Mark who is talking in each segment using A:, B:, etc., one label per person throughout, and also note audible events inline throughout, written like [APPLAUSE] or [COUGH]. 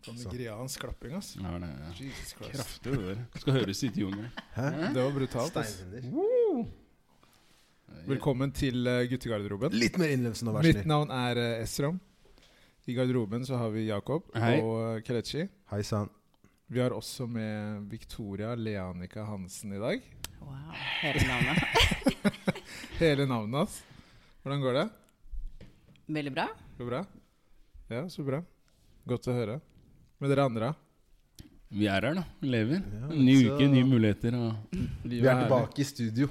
A: Sånn nigeriansk klapping, ass.
B: Ja, det er
A: Jesus Christ.
B: kraftig, det der. Skal høres ute i jungelen.
A: Det var brutalt. ass
C: Steinhunder.
A: Velkommen til eh, guttegarderoben.
C: Litt mer innlevelse nå, vær så
A: Mitt
C: snill.
A: navn er eh, Esram. I garderoben så har vi Jakob
B: Hei.
A: og eh, Kelechi.
C: Hei sann.
A: Vi har også med Victoria Leanica Hansen i dag.
D: Wow, hele navnet.
A: Hele navnet hans. Hvordan går det?
D: Veldig bra.
A: Går det bra? Ja, så bra. Godt å høre. Med dere andre?
B: Vi er her, da. Lever.
C: Ja,
B: Ny
C: så-
B: uke, nye muligheter. Og
C: Vi er tilbake i studio.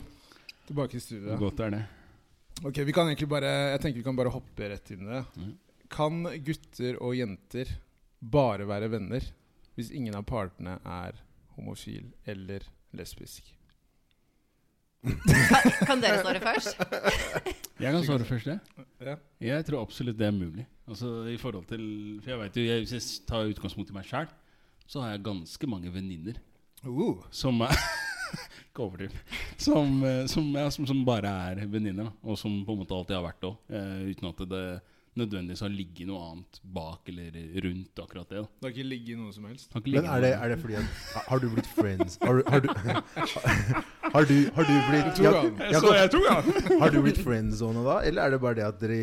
A: tilbake i studio.
B: hvor godt er det.
A: Ok, vi kan egentlig bare Jeg tenker vi kan bare hoppe rett inn i det.
B: Mhm.
A: Kan gutter og jenter bare være venner hvis ingen av partene er homofil eller lesbisk?
D: Kan, kan dere svare først?
B: Jeg kan svare først, jeg.
A: Ja.
B: Jeg tror absolutt det er mulig. Altså i forhold til For jeg vet jo, jeg, hvis jeg tar utgangspunkt i meg sjæl, så har jeg ganske mange venninner
A: Uh,
B: som er [LAUGHS] Ikke overdriv. Som, eh, som, ja, som, som bare er venninner, da, og som på en måte alltid har vært det òg. Eh, uten at det nødvendigvis har ligget noe annet bak eller rundt akkurat det. Da.
A: det har ikke ligget noe som helst.
B: Det har ikke
C: Men
B: ligget
C: er det,
B: noe-
C: er det fordi at Har du blitt friends Har du Har du, [LAUGHS] har du, har du blitt
A: tror han.
B: Jeg så jeg tror, ja!
C: Jakob, Har du blitt friendzona da? Eller er det bare det at dere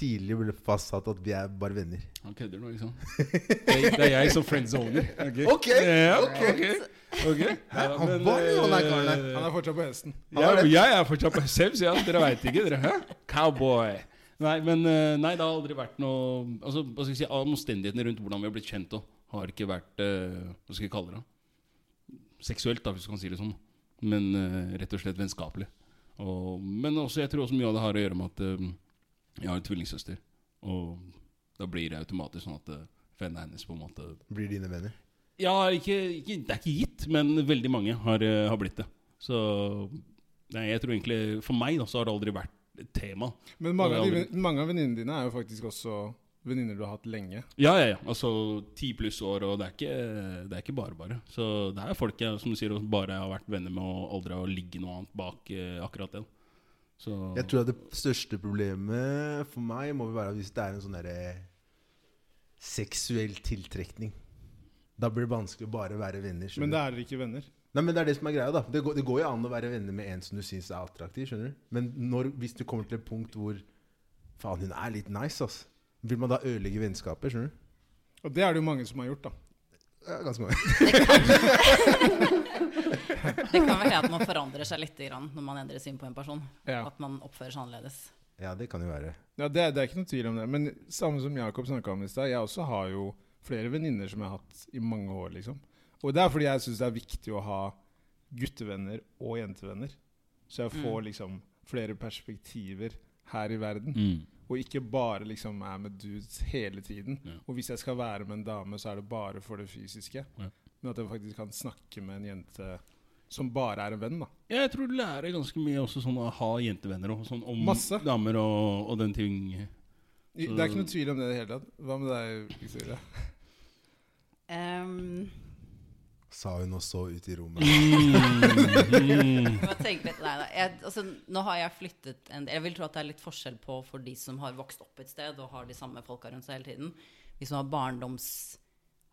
C: tidlig ble fastsatt at vi er bare venner?
B: Han kødder nå, ikke sant? Det, det er jeg som friendzoner.
C: [LAUGHS]
B: Okay.
C: Ok,
B: Ja,
C: ok.
B: ok. Ja,
C: han
B: men,
C: var jo han der karen der.
B: eh,
A: Han er fortsatt på hesten.
C: Han er
B: Jeg, jeg er fortsatt på Sevs, ja. Dere veit ikke, dere. Hæ? Cowboy. Nei, men eh, nei, det har aldri vært noe Altså, hva skal jeg si, Omstendighetene rundt hvordan vi har blitt kjent, og har ikke vært eh, Hva skal jeg kalle det? da? Seksuelt, da, hvis du kan si det sånn. Men eh, rett og slett vennskapelig. Og, men også, jeg tror også mye av det har å gjøre med at eh, jeg har en tvillingsøster. Og da blir det automatisk sånn at uh, vennene hennes på en måte
C: Blir dine venner?
B: ja, ikke, ikke, det er ikke gitt, men veldig mange har, eh, har blitt det. Så nei, jeg tror egentlig For meg da, så har det aldri vært et tema.
A: Men mange av,
B: Og
A: de,
B: aldri-
A: mange av venninnene dine er jo faktisk også venninner du har hatt lenge.
B: Ja, ja, ja. Altså ti pluss år, og det er ikke, det er ikke bare bare. Så det er folk jeg som du sier, bare har vært venner med og aldri har ligget noe annet bak eh, akkurat den. Så
C: Jeg tror at det største problemet for meg må vel være hvis det er en sånn derre seksuell tiltrekning. Da blir det vanskelig å bare være venner. skjønner
A: Men
C: du?
A: det er dere ikke venner.
C: Nei, men Det er det som er greia, da. Det går, det går jo an å være venner med en som du syns er attraktiv. skjønner du? Men når, hvis du kommer til et punkt hvor Faen, hun er litt nice, ass. Vil man da ødelegge vennskapet? skjønner du?
A: Og det er det jo mange som har gjort, da.
C: Ja, ganske mange.
D: Det kan vel hende at man forandrer seg litt grann når man endrer syn på en person.
A: Ja.
D: At man oppfører seg annerledes.
C: [LAUGHS] Ja, det kan jo være.
A: Ja, det, er- det er ikke noe tvil om det. Men samme som Jakob snakka om i stad, jeg også har jo flere venninner som jeg har hatt i mange år, liksom. Og det er fordi jeg syns det er viktig å ha guttevenner og jentevenner. Så jeg får liksom flere perspektiver her i verden.
B: mm.
A: Og ikke bare liksom er med dudes hele tiden.
B: Ja.
A: Og hvis jeg skal være med en dame, så er det bare for det fysiske.
B: Ja.
A: Men at jeg faktisk kan snakke med en jente som bare er en venn, da.
B: Jeg tror du lærer ganske mye også sånn å ha jentevenner og sånn om
A: Masse.
B: damer og, og den ting.
A: I- Det er ikke noe tvil om det i det hele tatt. Hva med deg, Victoria?
D: Ehm,
C: Sa hun og så ut i [LAUGHS] rommet. Mm.
D: jeg må tenke litt, nei, nei, jeg, altså, nå har jeg flyttet en del. Jeg vil tro at det er litt forskjell på for de som har vokst opp et sted og har de samme folka rundt seg hele tiden. De som har barndoms...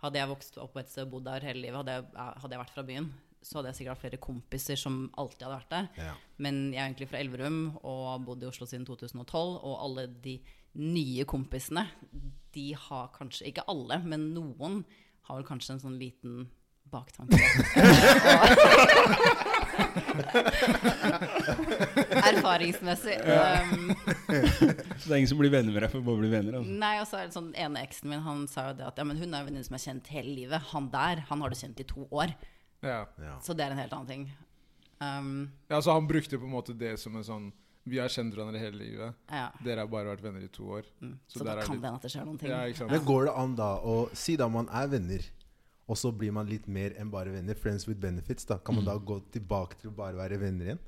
D: Hadde jeg vokst opp et sted og bodd der hele livet, hadde jeg, hadde jeg vært fra byen, så hadde jeg sikkert hatt flere kompiser som alltid hadde vært der.
C: Ja.
D: Men jeg er egentlig fra Elverum og har bodd i Oslo siden 2012. Og alle de nye kompisene, de har kanskje Ikke alle, men noen har vel kanskje en sånn liten
A: [LAUGHS]
D: baktanke. Erfaringsmessig. Um,
B: [LAUGHS] Så det er ingen som blir venner med deg for bare å bli venner. Altså.
D: Nei, og så er det sånn, ene eksen min han sa jo det at ja, men hun er en venninne som jeg har kjent hele livet. Han der, han har du kjent i to år.
A: Ja.
C: Ja.
D: Så det er en helt annen ting. Um,
A: Ja, så han brukte på en måte det som en sånn Vi har kjent hverandre hele livet.
D: ja.
A: Dere har bare vært venner i to år.
D: mm.
A: Så
D: Så, da
A: der er
D: kan
A: det-
D: det hende at det skjer noen ting.
A: Ja, ikke sant?
C: Men går det an da å si da man er venner, og så blir man litt mer enn bare venner? Friends with benefits, da. Kan man da gå tilbake til å bare være venner igjen?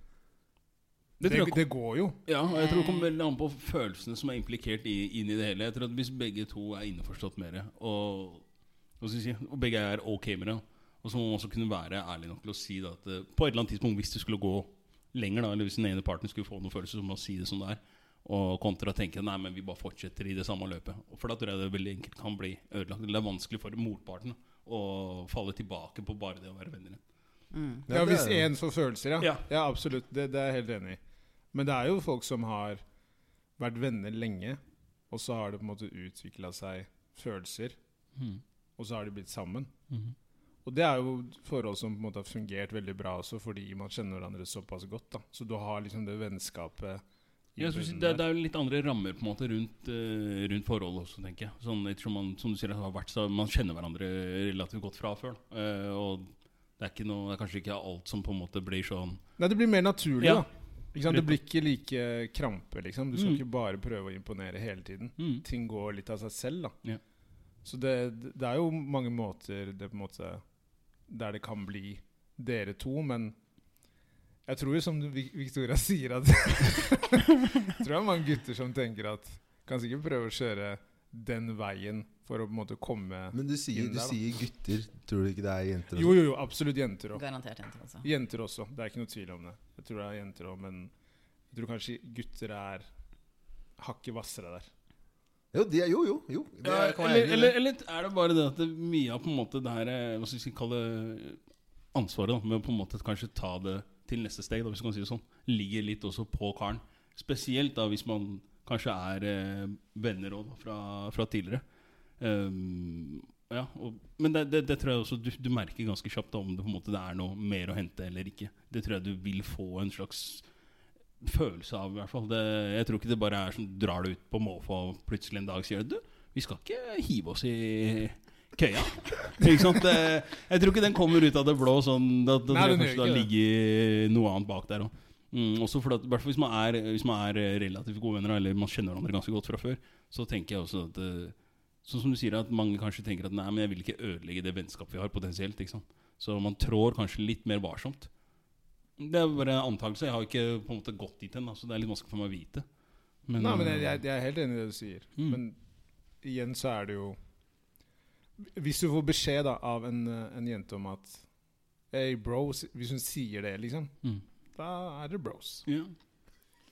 B: Det
A: Det,
B: tror jeg
A: det, går jo.
B: Ja, og jeg tror det kommer veldig an på følelsene som er implikert i, inn i det hele. Jeg tror at Hvis begge to er innforstått med det, og, hva skal jeg si, og begge er ok med det, og så må man også kunne være ærlig nok til å si da, at eh, på et eller annet tidspunkt, hvis det skulle gå lenger, da, eller hvis den ene parten skulle få noen følelser, så må man si det som det er. Og kontra å tenke nei, men vi bare fortsetter i det samme løpet. For da tror jeg det veldig enkelt kan bli ødelagt. Det er vanskelig for motparten å falle tilbake på bare det å være venner igjen.
D: Mm.
A: Ja,
C: det
A: hvis
C: er-
A: én får følelser, ja.
B: Ja.
A: ja. absolutt. Det, det er jeg helt enig i. Men det er jo folk som har vært venner lenge, og så har det på en måte utvikla seg følelser, og så har de blitt sammen. Og det er jo forhold som på en måte har fungert veldig bra også, fordi man kjenner hverandre såpass godt. da. Så du har liksom det vennskapet i
B: Jeg synes
A: bunnen
B: det,
A: der.
B: det er jo litt andre rammer på en måte rundt, eh, rundt forholdet også, tenker jeg. Sånn, ettersom man, som du sier, det har vært, så man kjenner hverandre relativt godt fra før. da. Eh, og det er, ikke noe, det er kanskje ikke alt som på en måte blir sånn
A: Nei, det blir mer naturlig,
B: Ja.
A: da. Ikke sant? Det blir ikke like krampe, liksom. Du skal ikke bare prøve å imponere hele tiden.
B: Mm.
A: ting går litt av seg selv. da.
B: Ja.
A: Så det, det er jo mange måter det på en måte, der det kan bli dere to, men jeg tror jo som du- Vic- Victoria [LAUGHS] sier at Jeg tror det er mange gutter som tenker at kan sikkert prøve å kjøre den veien for å på en måte komme
C: Men du sier,
A: Inn
C: du
A: der, da.
C: sier gutter. Tror du ikke det er jenter?
A: Jo, jo, jo, absolutt jenter òg.
D: Garantert jenter, altså.
A: Jenter også. Det er ikke noe tvil om det. Jeg tror det er jenter òg, men jeg tror kanskje gutter er hakket hvassere der.
C: Jo, de er, jo, jo. jo. Det
B: Ja,
C: kan være
B: eller,
C: enig i
B: eller,
C: det.
B: eller er det bare det at det, mye av på en måte det her eh, Hva skal vi kalle det, ansvaret da, med å på en måte kanskje ta det til neste steg, da, hvis man kan si det sånn, ligger litt også på karen. Spesielt da hvis man kanskje er eh, venner også, da, fra, fra tidligere. Ehm, ja, og, men det, det, det tror jeg også du, du merker ganske kjapt da, om det på en måte det er noe mer å hente eller ikke. Det tror jeg du vil få en slags følelse av, i hvert fall. Det, jeg tror ikke det bare er sånn drar det ut på måfå og plutselig en dag sier du, vi skal ikke hive oss i køya. [LAUGHS] Ikke sant? Det, jeg tror ikke den kommer ut av det blå sånn. Da,
A: Nei,
B: da tror jeg
A: den
B: kanskje
A: gjør
B: det
A: ikke
B: ligger noe annet bak der òg. Mm, også fordi at, i hvert fall hvis man, er, hvis man er relativt gode venner, eller man kjenner hverandre ganske godt fra før, så tenker jeg også at eh, Sånn som du sier, at mange kanskje tenker at nei, men jeg vil ikke ødelegge det vennskapet vi har, potensielt. ikke sant? Så man trår kanskje litt mer varsomt. Det er bare en antakelse. Jeg har ikke på en måte gått dit ennå, så det er litt vanskelig for meg å vite. Men,
A: Nei, men jeg,
B: eh,
A: jeg, jeg er helt enig i det du sier.
B: Mm.
A: Men igjen så er det jo Hvis du får beskjed da, av en, eh, en jente om at Hey, bros. Hvis hun sier det, liksom,
B: Mm.
A: da er det bros.
B: ja. [LAUGHS]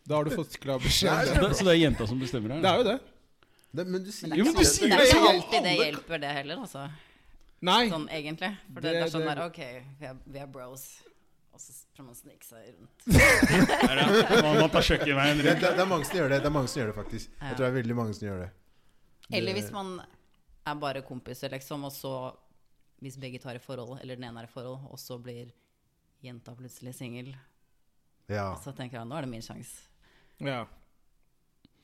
A: Da har du fått klar beskjed.
C: Nei,
A: om
B: Så
A: det.
B: [LAUGHS] det, så det er jenta som bestemmer her?
A: Det er jo det.
C: Nei, Men du sier
D: Men det
B: Jo,
D: er
B: men
D: ikke
B: du
D: alt-
B: sier
D: det er
B: jo
D: ikke
B: alle-
D: alltid det hjelper, det heller, altså.
A: Nei!
D: Sånn egentlig. For det,
A: Det-
D: det er sånn
A: det-
D: der OK, vi er, vi er bros. Og så prøver man å snike seg rundt.
B: Der, ja. Man, man tar kjøkkenveien
C: det,
B: rundt.
C: det, det er mange som gjør det. Det er mange som gjør det, faktisk.
D: Ja.
C: Jeg tror det er veldig mange som gjør det.
D: Eller hvis man er bare kompiser, liksom, og så Hvis begge tar i forhold, eller den ene er i forhold, og så blir jenta plutselig singel,
C: Ja.
D: så tenker han nå er det min sjanse.
A: Ja.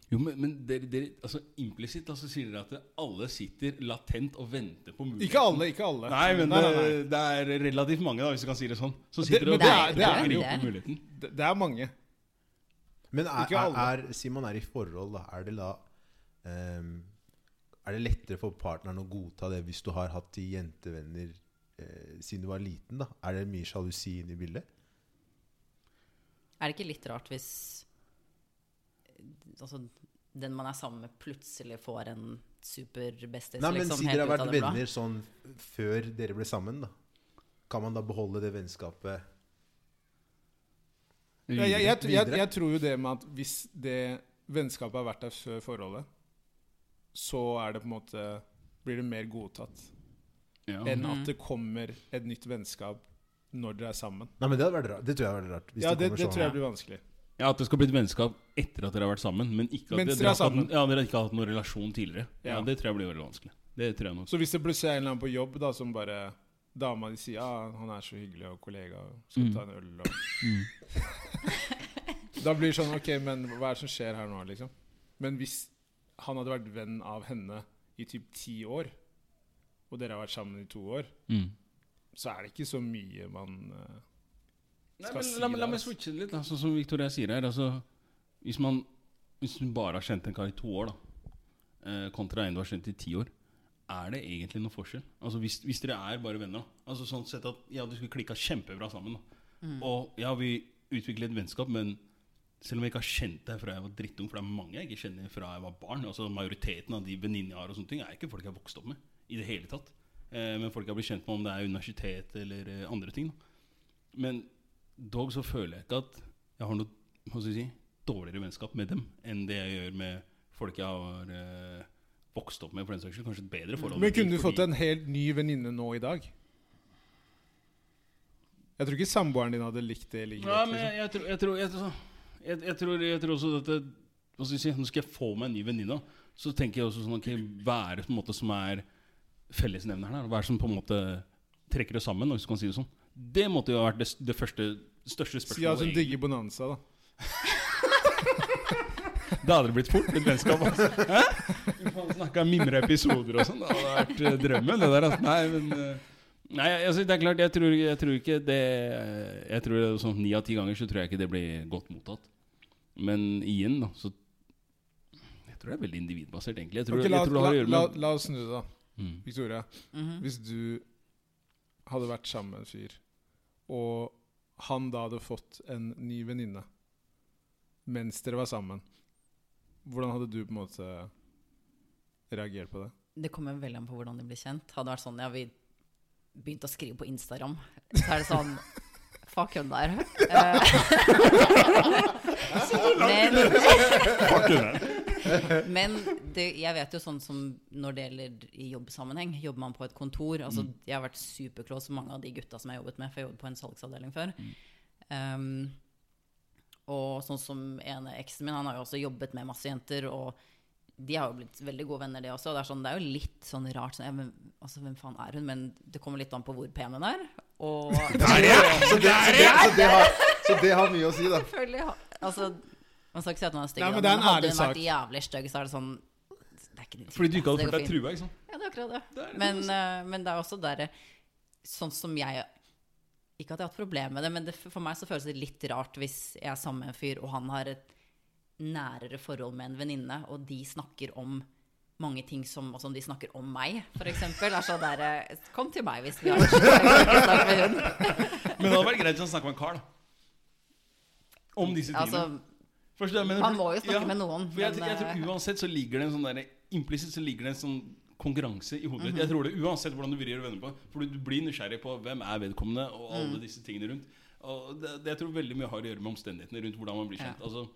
B: Jo, men, men dere, dere, altså Implisitt altså, sier dere at alle sitter latent og venter på muligheten.
A: Ikke alle, ikke alle.
B: Nei, men eh,
A: Nei, nei,
B: Det, det er relativt mange, da, hvis du kan si det sånn. Som
A: Det-
B: sitter
A: men
B: og
A: det
B: venter
A: er- det er
B: på
D: det.
B: muligheten. muligheten.
A: Det, det er mange.
C: Men er,
A: Ikke alle.
C: er, er, sier man er i forhold, da, er det da ehm, Er det lettere for partneren å godta det hvis du har hatt de jentevenner eh, siden du var liten? da? Er det mye sjalusi inne i bildet?
D: Er det ikke litt rart hvis altså, den man er sammen med, plutselig får en superbestis?
C: Nei, men
D: liksom,
C: Siden
D: helt
C: dere har
D: ut av
C: vært
D: det blå?
C: venner sånn før dere ble sammen, da, kan man da beholde det vennskapet?
A: Jeg, jeg, jeg, jeg,
C: Videre.
A: jeg tror jo det med at hvis det vennskapet har vært der før forholdet, så er det på en måte Blir det mer godtatt.
B: Ja.
A: enn at det kommer et nytt vennskap når dere er sammen.
C: Nei, men Det hadde vært rart. Det tror jeg hadde vært rart. hvis
A: ja, det,
C: kommer
A: det
C: sånn.
A: tror jeg blir vanskelig.
B: ja, At det skal bli et vennskap etter at dere har vært sammen. Men ikke at
A: Mens dere er
B: dere, har ikke hatt
A: sammen.
B: noen- ja, dere har ikke hatt noen relasjon tidligere. Ja.
A: Ja.
B: Det tror jeg blir veldig vanskelig. Det tror jeg nok.
A: Så hvis det plutselig er en eller annen på jobb da, som bare Dama di sier ah, 'han er så hyggelig og kollega, og skal vi
B: Mm.
A: ta en øl' og [LAUGHS] Da blir det sånn 'ok, men hva er det som skjer her nå', liksom? Men hvis han hadde vært venn av henne i typ ti år, og dere har vært sammen i to år,
B: Mm.
A: så er det ikke så mye man eh,
B: Nei,
A: skal
B: men,
A: si
B: la, meg- la
A: der,
B: meg
A: altså.
B: switche det litt, da. sånn som Victoria sier her. Altså, hvis, man, hvis du bare har kjent en kar i to år, da, eh, kontra en du har kjent i ti år, er det egentlig noen forskjell? Altså, hvis, hvis dere er bare venner, da. Altså, sånn sett at ja, du skulle klikka kjempebra sammen. Da.
A: Mm.
B: Og ja, vi utviklet et vennskap, men selv om jeg ikke har kjent deg fra jeg var drittung, for det er mange jeg ikke kjenner fra jeg var barn Altså Majoriteten av de venninnene jeg har, og sånne ting er ikke folk jeg har vokst opp med. I det hele tatt eh, Men folk jeg har blitt kjent med, om det er universitet eller eh, andre ting. Da. Men dog så føler jeg ikke at jeg har noe hva skal jeg si, dårligere vennskap med dem enn det jeg gjør med folk jeg har eh, vokst opp med, for den saks skyld. Kanskje et bedre forhold.
A: Men kunne du
B: Fordi-
A: fått en helt ny venninne nå i dag? Jeg tror ikke samboeren din hadde likt det like
B: Ja,
A: godt.
B: men
A: Liksom.
B: jeg, jeg, tror, jeg, tror, jeg, tror- jeg, jeg, tror, jeg tror også at det, hva skal jeg si, Nå skal jeg få meg en ny venninne. Så tenker jeg også sånn Ok, hva er det på en måte som er fellesnevneren her? Hva er det som på en måte trekker det sammen? Hvis du kan si det sånn Det måtte jo ha vært det, det første største
A: Si at
B: spørsmålet.
A: hun
B: egentlig.
A: digger Bonanza, da.
B: Da hadde det blitt fort blitt vennskap. Altså. Hæ? Snakka mimreepisoder og sånn. Det hadde vært eh, drømmen, det der. Altså. Nei, men eh, Nei, altså, det er klart, jeg tror, jeg tror ikke det Jeg tror det er sånn Ni av ti ganger så tror jeg ikke det blir godt mottatt. Men igjen, da, så Jeg tror det er veldig individbasert, egentlig. Jeg tror,
A: Ok, la,
B: jeg tror det
A: la,
B: har å gjøre
A: la,
B: med
A: la oss snu det, da.
B: mm.
A: Victoria,
D: Mhm.
A: hvis du hadde vært sammen med en fyr, og han da hadde fått en ny venninne mens dere var sammen, hvordan hadde du på en måte reagert på det?
D: Det kommer veldig an på hvordan de blir kjent. Hadde det vært sånn, ja, vi begynte å skrive på Instagram, så er det sånn Fuck hun der. Eh, men men det, jeg vet jo sånn som når det gjelder i jobbsammenheng, jobber man på et kontor altså, Jeg har vært superclose med mange av de gutta som jeg har jobbet med, for jeg jobbet på en salgsavdeling før. Um, og sånn som ene eksen min, han har jo også jobbet med masse jenter, og de har jo blitt veldig gode venner, de også. Og det, er sånn, det er jo litt sånn rart sånn, ja, men, altså, Hvem faen er hun? Men det kommer litt an på hvor pen hun er. Og [LAUGHS]
C: Så det, så, det, så, det har, så det har mye å si, da.
D: selvfølgelig ha- Altså, man skal ikke si at man er stygg,
A: Nei,
D: da,
A: men
D: men
A: det er en
D: hadde
A: ærlig
D: hun
A: sak.
D: vært jævlig stygg, så er det sånn Det er ikke din type.
B: Fordi du ikke
D: altså,
B: hadde
D: det
B: følt deg
D: går fint.
B: trua, ikke sant?
D: Ja, det er akkurat det.
B: Det er det
D: men,
B: som
D: eh, men det er også der Sånn som jeg Ikke at jeg har hatt problemer med det, men det, for meg så føles det litt rart hvis jeg er sammen med en fyr, og han har et nærere forhold med en venninne, og de snakker om mange ting som altså om de snakker om meg, f.eks. Er sånn der eh, Kom til meg hvis vi har snakk med hun.
B: [LAUGHS] Men det hadde vært greit å snakke med en kar, da. Om disse tingene.
D: Altså,
B: Forstår du hva jeg mener?
D: han må jo snakke
B: Ja.
D: med noen.
B: For jeg,
D: men,
B: jeg
D: eh,
B: tror uansett så ligger det en sånn der, Implisitt så ligger det en sånn konkurranse i hodet ditt.
D: Mhm.
B: Jeg tror det Uansett hvordan du vrir og vender på. For du blir nysgjerrig på hvem er vedkommende, og
D: Mhm.
B: alle disse tingene rundt. Og det, det jeg tror veldig mye har å gjøre med omstendighetene rundt hvordan man blir kjent. Altså,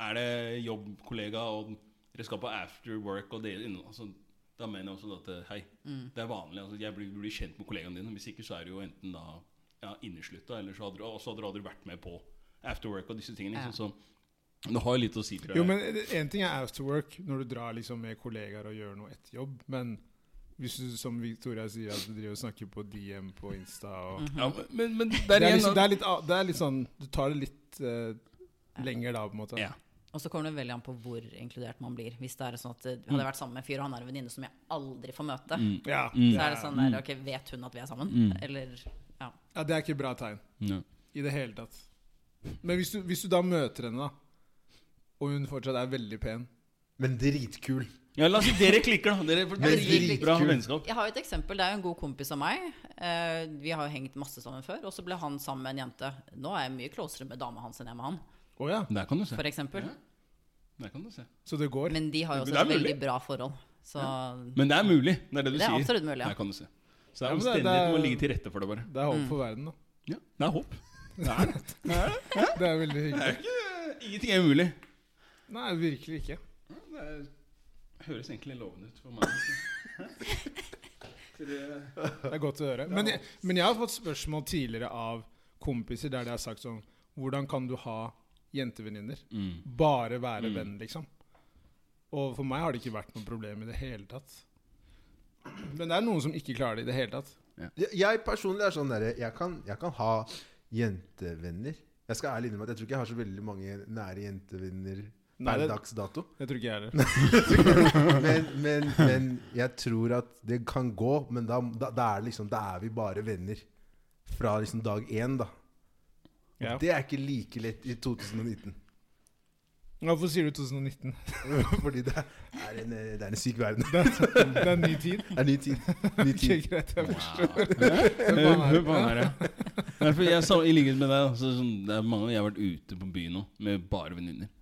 B: er det jobbkollega, og dere skal på after work og dele innom altså, Da mener jeg også at eh, hei,
D: Mm.
B: det er vanlig. Altså, jeg blir, blir kjent med kollegaene dine. Hvis ikke så er det jo enten da ja, inneslutta, eller så hadde, du- og så hadde du aldri vært med på after work og disse tingene. Ikke? sant? Så det har jo litt å si, tror jeg.
A: Jo, men En ting er afterwork, når du drar liksom med kollegaer og gjør noe etter jobb. Men hvis du, som Victoria sier, at du driver og snakker på DM på Insta og
B: Ja, men, Mm. men
A: det,
B: der
A: er
B: igjen
A: liksom,
B: da-
A: det, er litt, a- det er litt sånn Du tar det litt eh, lenger da, på en måte.
B: Ja.
D: Og så kommer det veldig an på hvor inkludert man blir. Hvis det er sånn at eh, Hadde jeg vært sammen med en fyr, og han er en venninne som jeg aldri får møte,
B: Mm.
A: Ja,
D: så er
A: det
D: det
A: er-
D: sånn der Ok, vet hun at vi er sammen? Eller Ja.
A: ja, det er ikke bra tegn. I det hele tatt. Men hvis du, hvis du da møter henne, da, og hun fortsatt er veldig pen
C: Men dritkul.
B: Ja, la oss si dere klikker, da. Dere får
C: Men
B: dritbra
C: dritkul.
B: vennskap.
D: Jeg har jo et eksempel. Det er jo en god kompis av meg. Eh, vi har jo hengt masse sammen før. Og så ble han sammen med en jente. Nå er jeg mye closere med dama hans enn jeg er med han,
A: Å ja,
B: Der kan du se.
D: for eksempel.
B: Der kan du se.
A: så det går.
D: Men de har jo
B: Men
D: også et
B: det er mulig.
D: veldig bra forhold. Så
B: Men det er mulig. Det er det du
D: det er
B: sier.
D: absolutt mulig.
B: Der
D: Ja.
B: kan du se. Så det
A: Ja,
B: er
A: men det- det er-
B: omstendighetene må ligge til rette for det, bare.
A: Det er håp for verden, da.
B: Ja, Det er håp. Det er
A: [LAUGHS]
B: det.
A: Det er veldig
B: Det
A: hyggelig.
B: er ikke, ingenting er umulig.
A: Nei, virkelig ikke.
B: Det er, høres egentlig lovende ut for meg.
A: Det er godt å høre. Men jeg, men jeg har fått spørsmål tidligere av kompiser der det er sagt sånn Hvordan kan du ha jentevenninner?
B: Mm.
A: Bare være
B: Mm.
A: venn, liksom. Og for meg har det ikke vært noe problem i det hele tatt. Men det er noen som ikke klarer det i det hele tatt.
C: Jeg, jeg personlig er sånn derre jeg, kan- jeg kan ha jentevenner. Jeg skal ærlig innrømme at jeg tror ikke jeg har så veldig mange nære jentevenner
A: Nei,
C: per
A: det-
C: dags
A: [LAUGHS]
C: dato.
A: Jeg tror ikke jeg
B: [LAUGHS]
A: heller.
C: Men, men, men jeg tror at det kan gå. Men da, da, da, er, det liksom, da er vi bare venner fra liksom dag én, da.
A: Ja.
C: Det er ikke like lett i 2019.
A: Hvorfor sier du 2019?
C: [LAUGHS] Fordi det er en, eh, det er en syk
A: [LAUGHS]
C: verden.
A: Det er, det er ny tid.
C: Det er ny tid. Ny
A: Ok,
C: [LAUGHS] tid.
A: greit. Jeg
B: Hør på han her, ja. Derfor jeg sa, I likhet med deg, så, er det sånn, det er mange ganger jeg har vært ute på byen nå med bare venninner.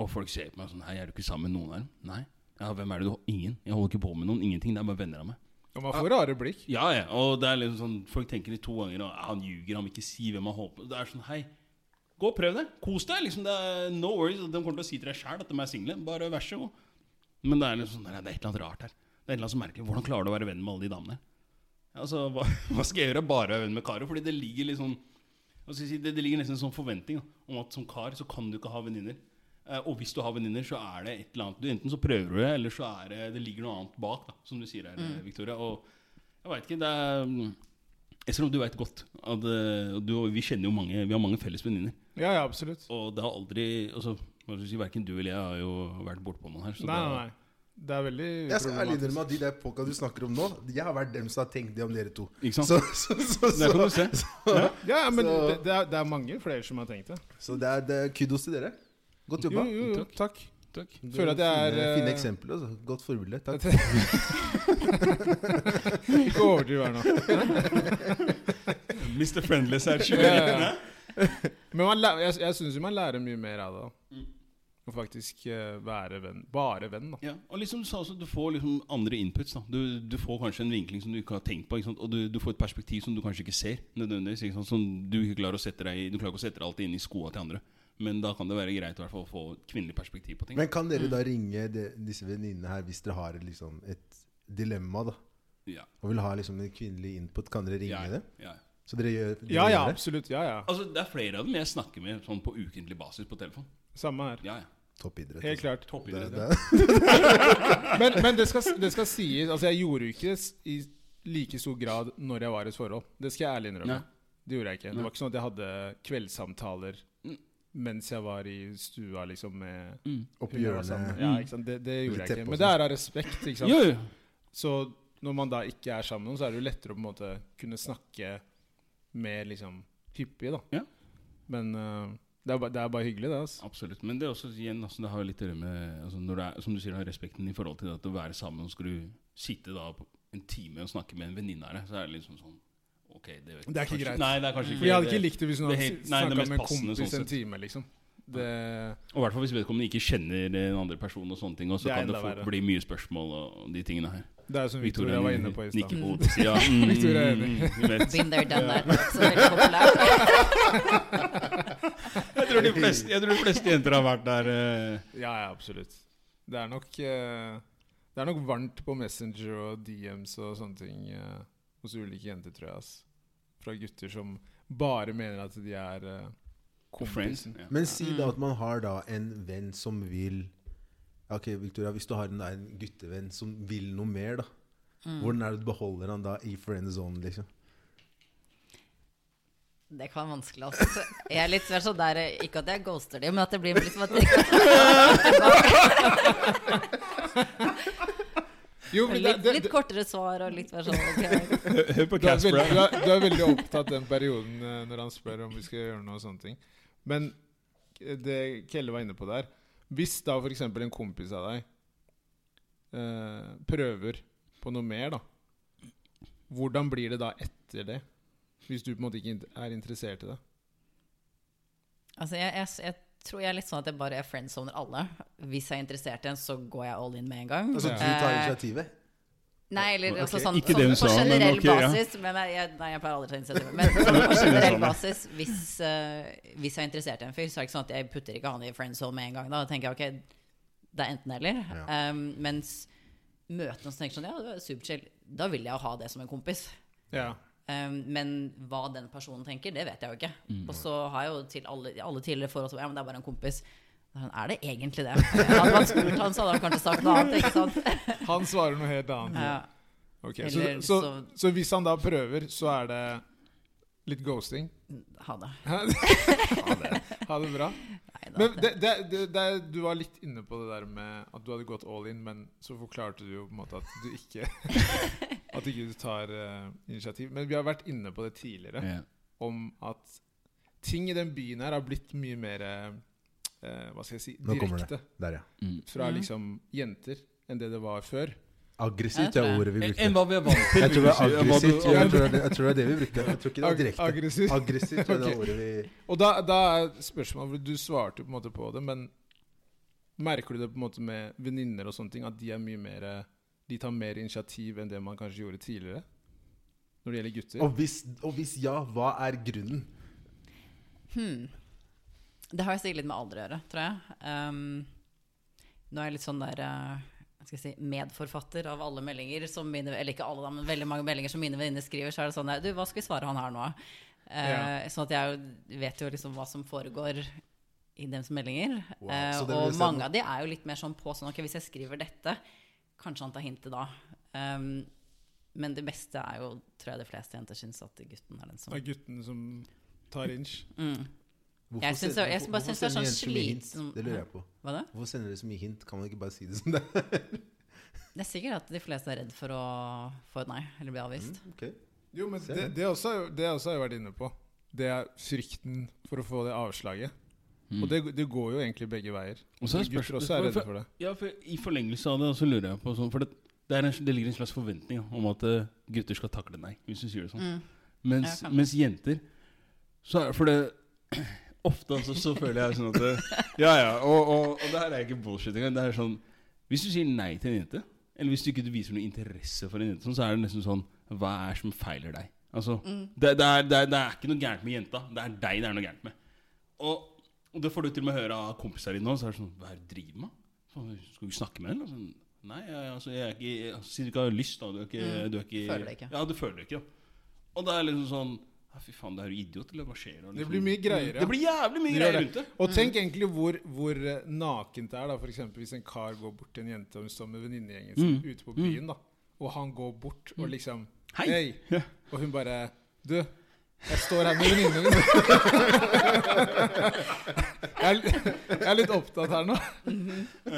B: Og folk ser på meg sånn Hei, er du ikke sammen med noen av dem? Nei. Ja, hvem er det du har? Ingen. Jeg holder ikke på med noen. Ingenting. Det er bare venner av meg.
A: Og man får rare blikk.
B: Ja, ja. Og det er liksom sånn Folk tenker litt to ganger og han ljuger, han vil ikke si hvem han holder på med. Det er sånn Hei, Gå og prøv det. Kos deg. liksom det er No worries. De kommer til å si til deg sjæl at de er single. Bare vær så god. Men det er liksom sånn, det er et eller annet rart her. Det er et eller annet som merker Hvordan klarer du å være venn med alle de damene? Altså, hva, [LAUGHS] hva skal jeg gjøre? Bare være venn med karer? Fordi det ligger litt sånn hva skal jeg si, det, det ligger nesten en sånn forventning da, om at som kar så kan du ikke ha venninner. Eh, og hvis du har venninner, så er det et eller annet du, Enten så prøver du det, eller så er det, det ligger noe annet bak, da, som du sier her, Victoria. Og jeg veit ikke. det er... Esrom, du veit godt at eh, du, og vi kjenner jo mange Vi har mange felles venninner.
A: Ja, ja, absolutt.
B: Og det har aldri altså, hva skal jeg si, Verken du eller jeg har jo vært bortpå noen her.
A: Nei, nei, nei. Det er veldig
C: Jeg skal ærlig innrømme at de der folka du snakker om nå, jeg har vært dem som har tenkt det om dere to.
A: Sånn.
B: Ikke sant?
C: Så, så, så,
B: Det kan
C: så,
B: du
C: [LAUGHS]
B: se.
A: Ja, ja, men
C: Så-
A: det, det, er, det er mange flere som har tenkt det.
C: så det, er, det er kudos til dere. Godt
A: Jo,
C: jobba.
A: jo, jo
B: Takk.
A: takk.
B: Takk.
A: Føler at jeg er
C: Fine, fine
A: eh,
C: eksempler. Altså. Godt forbilde. Takk.
A: [LAUGHS] Ikke overdriv her nå.
B: Mr. Friendless er [LAUGHS]
A: Ja, ja, ja. Men man, læ- jeg, jeg syns jo man lærer mye mer av det.
C: Mm.
A: da. Å faktisk eh, være venn. Bare venn, da.
B: Ja, og liksom du sa også, Du får liksom andre inputs. da Du, du får kanskje en vinkling som du ikke har tenkt på. Ikke sant? Og du, du får et perspektiv som du kanskje ikke ser. nødvendigvis ikke sant? Som Du ikke klarer å sette deg i Du klarer ikke å sette deg alltid inn i skoa til andre. Men da kan det være greit i hvert fall å få et kvinnelig perspektiv på ting.
C: Men kan dere da
A: Mm.
C: ringe de, disse venninnene her hvis dere har et, liksom, et dilemma da,
B: ja,
C: og vil ha liksom, en kvinnelig input? Kan dere ringe
B: ja,
C: det?
B: ja.
C: Så dere gjør dere
A: Ja ja,
C: gjør det?
A: absolutt. Ja ja.
B: Altså, Det er flere av dem jeg snakker med sånn på ukentlig basis på telefon.
A: Samme her.
B: Ja, ja.
C: Toppidrett.
A: Helt klart.
B: Toppidrett.
C: Det-
B: ja.
C: det-
A: Men, men det, skal, det skal sies Altså, jeg gjorde jo ikke det s- i like stor grad når jeg var i et forhold. Det skal jeg ærlig innrømme.
B: Nei.
A: Det gjorde jeg ikke. Det
B: Nei.
A: var ikke sånn at jeg hadde kveldssamtaler
B: Mm.
A: mens jeg var i stua, liksom, med
B: Mm.
C: Opp i
A: hun jeg var sammen med.
C: hjørnet. Mm.
A: Ja, ikke sant? Det, det gjorde
C: Litt
A: jeg
C: teppe
A: ikke.
C: og
A: Men det er av respekt, ikke sant.
B: Jo, jo.
A: Så når man da ikke er sammen med noen, så er det jo lettere å på en måte kunne snakke med liksom hyppig, da.
B: Ja.
A: Men eh, det, er ba, det er bare hyggelig, det. Altså.
B: Absolutt. Men det er også igjen, altså, det har jo litt å gjøre med altså, når det er, Som du sier, det har respekten i forhold til det at å være sammen, og skal du sitte da på en time og snakke med en venninne av deg, så er det liksom sånn Ok, det, vet jeg
A: Det er ikke
B: kanskje-
A: greit.
B: Nei, det er kanskje ikke
A: For jeg hadde
B: det-
A: ikke likt det hvis hun
B: det
A: hadde
B: helt- nei, det er
A: snakka
B: mest
A: med en
B: passende
A: kompis
B: sånn
A: en
B: sett.
A: time, liksom. Det,
B: Og i hvert fall hvis vedkommende ikke kjenner den andre personen, og sånne ting, og så
A: Det er
B: kan det
A: enda
B: fort
A: verre.
B: bli mye spørsmål og de tingene her.
A: det er jo som Victoria var inne på i stad.
B: nikker på hodet. Ja, mm,
A: [LAUGHS] Victoria er enig.
B: mm, vi vet.
D: Been there, done that. Så veldig populært.
B: Jeg tror de fleste, jeg tror de fleste jenter har vært der. eh,
A: Ja, ja, absolutt. Det er nok eh, Det er nok varmt på Messenger og DMs og sånne ting eh, hos ulike jenter, tror jeg. Ass. Fra gutter som bare mener at de er eh,
B: friends.
A: kompisen.
B: Ja.
C: Men si da
A: Mm.
C: at man har da en venn som vil Ok, Victoria, hvis du har en, en guttevenn som vil noe mer, da. Hvordan er det du beholder han da i friend zone, liksom?
D: Det kan være vanskelig, altså. Så Jeg er litt mer sånn der Ikke at jeg ghoster dem, men at det blir liksom at jeg
A: Jo, men det,
D: litt,
A: det,
D: litt
A: det,
D: kortere svar og litt mer sånn ok.
B: Hør på
A: du, er veldig,
B: Casper.
A: du, er, du er veldig opptatt den perioden eh, når han spør om vi skal gjøre noe og sånne ting. Men eh, det Kelle var inne på der Hvis da f.eks. en kompis av deg eh, prøver på noe mer, da hvordan blir det da etter det? Hvis du på en måte ikke in- er interessert i det?
D: Altså, jeg, jeg, jeg tror jeg er litt sånn at jeg bare er friendzoner alle. Hvis jeg er interessert i en, så går jeg all in med en
A: Mm.
D: gang. Eh,
C: Altså, du tar initiativet?
D: Nei, eller altså,
B: Ok,
D: sånn,
B: ikke det
D: sånn
B: hun
D: på
B: sa, men
D: generell
B: ok, ja.
D: basis. Men jeg, jeg, nei, jeg pleier aldri å ta initiativ. Men
B: [LAUGHS]
D: sånn, på generell basis, hvis, eh, hvis jeg er interessert i en fyr, så er det ikke sånn at jeg putter ikke han i friendzone med en gang. Da tenker jeg ok, det er enten eller. Um, mens møtene som tenker sånn, ja, du er superchill, da vil jeg jo ha det som en kompis.
A: Ja.
D: Um, men hva den personen tenker, det vet jeg jo ikke.
B: Mm.
D: Og så har jeg jo til alle, i alle tidligere forhold som Ja, men det er bare en kompis. Da er han, Er det egentlig det? Hadde man spurt han, så hadde han kanskje sagt noe annet. Ikke sant?
A: Han svarer noe helt
B: Mm.
A: annet.
D: Ja.
A: Ok,
D: Eller
A: så, så,
D: så-
A: så hvis han da prøver, så er det litt ghosting? [LAUGHS]
D: Ha det.
A: Hæ? Ha det bra.
D: Nei, da,
A: Men det, det, det, det, du var litt inne på det der med at du hadde gått all in, men så forklarte du jo på en måte at du ikke At ikke du tar eh, initiativ. Men vi har vært inne på det tidligere,
B: Ja.
A: om at ting i den byen her har blitt mye mer eh, Hva skal jeg si
C: Nå kommer
A: direkte
C: Der, ja.
B: Mm.
A: fra
C: liksom,
D: Mhm.
A: liksom jenter enn det det var før.
D: Ja, det
C: Aggressivt
D: tror
C: er
D: jeg.
C: ordet vi
B: Enn
C: brukte.
B: hva vi er vant til.
C: Jeg tror det er
B: Hva du-
C: aggressivt. Jeg tror det, jeg tror det er det vi brukte. Jeg tror ikke det
A: Ag
C: er direkte.
A: aggressivt.
C: Aggressivt tror jeg det er ordet vi
A: Og da, da er spørsmålet Du svarte jo på en måte på det, men merker du det på en måte med venninner og sånne ting, at de er mye mer De tar mer initiativ enn det man kanskje gjorde tidligere? Når det gjelder gutter?
C: og hvis, og hvis ja, hva er grunnen?
D: hmm. Det har jo sikkert litt med alder å gjøre, tror jeg. Ehm, nå er jeg litt sånn der eh, hva skal jeg si, medforfatter av alle meldinger som mine Eller ikke alle, da, men veldig mange meldinger som mine venninner skriver. Så er det sånn der Du, hva skal vi svare han her nå? Eh, Sånn at jeg jo vet jo liksom hva som foregår i deres meldinger.
C: Wow,
D: Eh,
C: så det vil
D: og
C: si at
D: mange
C: nå-
D: av de er jo litt mer sånn på sånn Ok, hvis jeg skriver dette, kanskje han tar hintet da. Ehm, men det beste er jo, tror jeg de fleste jenter syns, at gutten er den som
A: Det er guttene som tar inch.
D: mm.
C: Hvorfor
D: Jeg
C: sender-
D: synes det- jeg
C: hvorfor-
D: bare
C: hvorfor
D: synes det er
C: sender
D: sånn
C: dere så mye hint?
D: slitsom-
C: Det lurer jeg på.
D: Hva da?
C: Hvorfor sender dere så mye hint? Kan man ikke bare si det som
D: [LAUGHS]
C: det er?
D: Det er sikkert at de fleste er redd for å få et nei, eller bli
B: Mm.
D: avvist.
C: Mm, Ok.
A: Jo, men
C: Ser
A: det, det, også, er jo- det også har jeg vært inne på. Det er frykten for å få det avslaget.
B: Mm.
A: Og det, det går jo egentlig begge veier.
B: Og så er
A: gutter
B: spørsmålet-
A: også er redde for det.
B: Ja, for I forlengelse av det så lurer jeg på sånn For det, det, er en, det ligger en slags forventning om at eh, gutter skal takle nei, hvis du sier det sånn.
D: Mm.
B: Mens,
D: Ja, kan-
B: mens jenter så er, For det ofte altså, så føler jeg sånn at det, Ja, ja. Og, og, og det her er ikke bullshit engang. Det er sånn Hvis du sier nei til en jente, eller hvis du ikke viser noe interesse for en jente, sånn, så er det nesten sånn Hva er det som feiler deg? Altså,
D: Mm.
B: det, det, er, det, er, det er ikke noe gærent med jenta. Det er deg det er noe gærent med. Og, og det får du til og med høre av kompiser dine nå. Så er det sånn Hva er det du driver med? Faen, Skal du snakke med henne? Og Sånn, Nei, jeg, altså, jeg er ikke jeg, altså, Siden du ikke har lyst, da. Du er ikke,
D: Mm,
B: du er ikke
D: føler det ikke.
B: Ja, du føler det ikke, da. Og det er liksom sånn ja, Fy faen, det er jo idiot, eller hva skjer? Og
A: Det
B: liksom-
A: blir mye greiere.
B: Det blir jævlig mye
A: Det
B: greier
A: gjør
B: rundt det.
A: Og tenk egentlig hvor, hvor eh, nakent det er, da. For eksempel hvis en kar går bort til en jente og hun står med venninnegjengen sin
B: Mm.
A: ute på byen, da. Og han går bort og liksom
B: Hei.
A: Hei!
B: Ja.
A: Og hun bare Du, jeg står her med venninnen min. jeg, er li- jeg er litt opptatt her nå.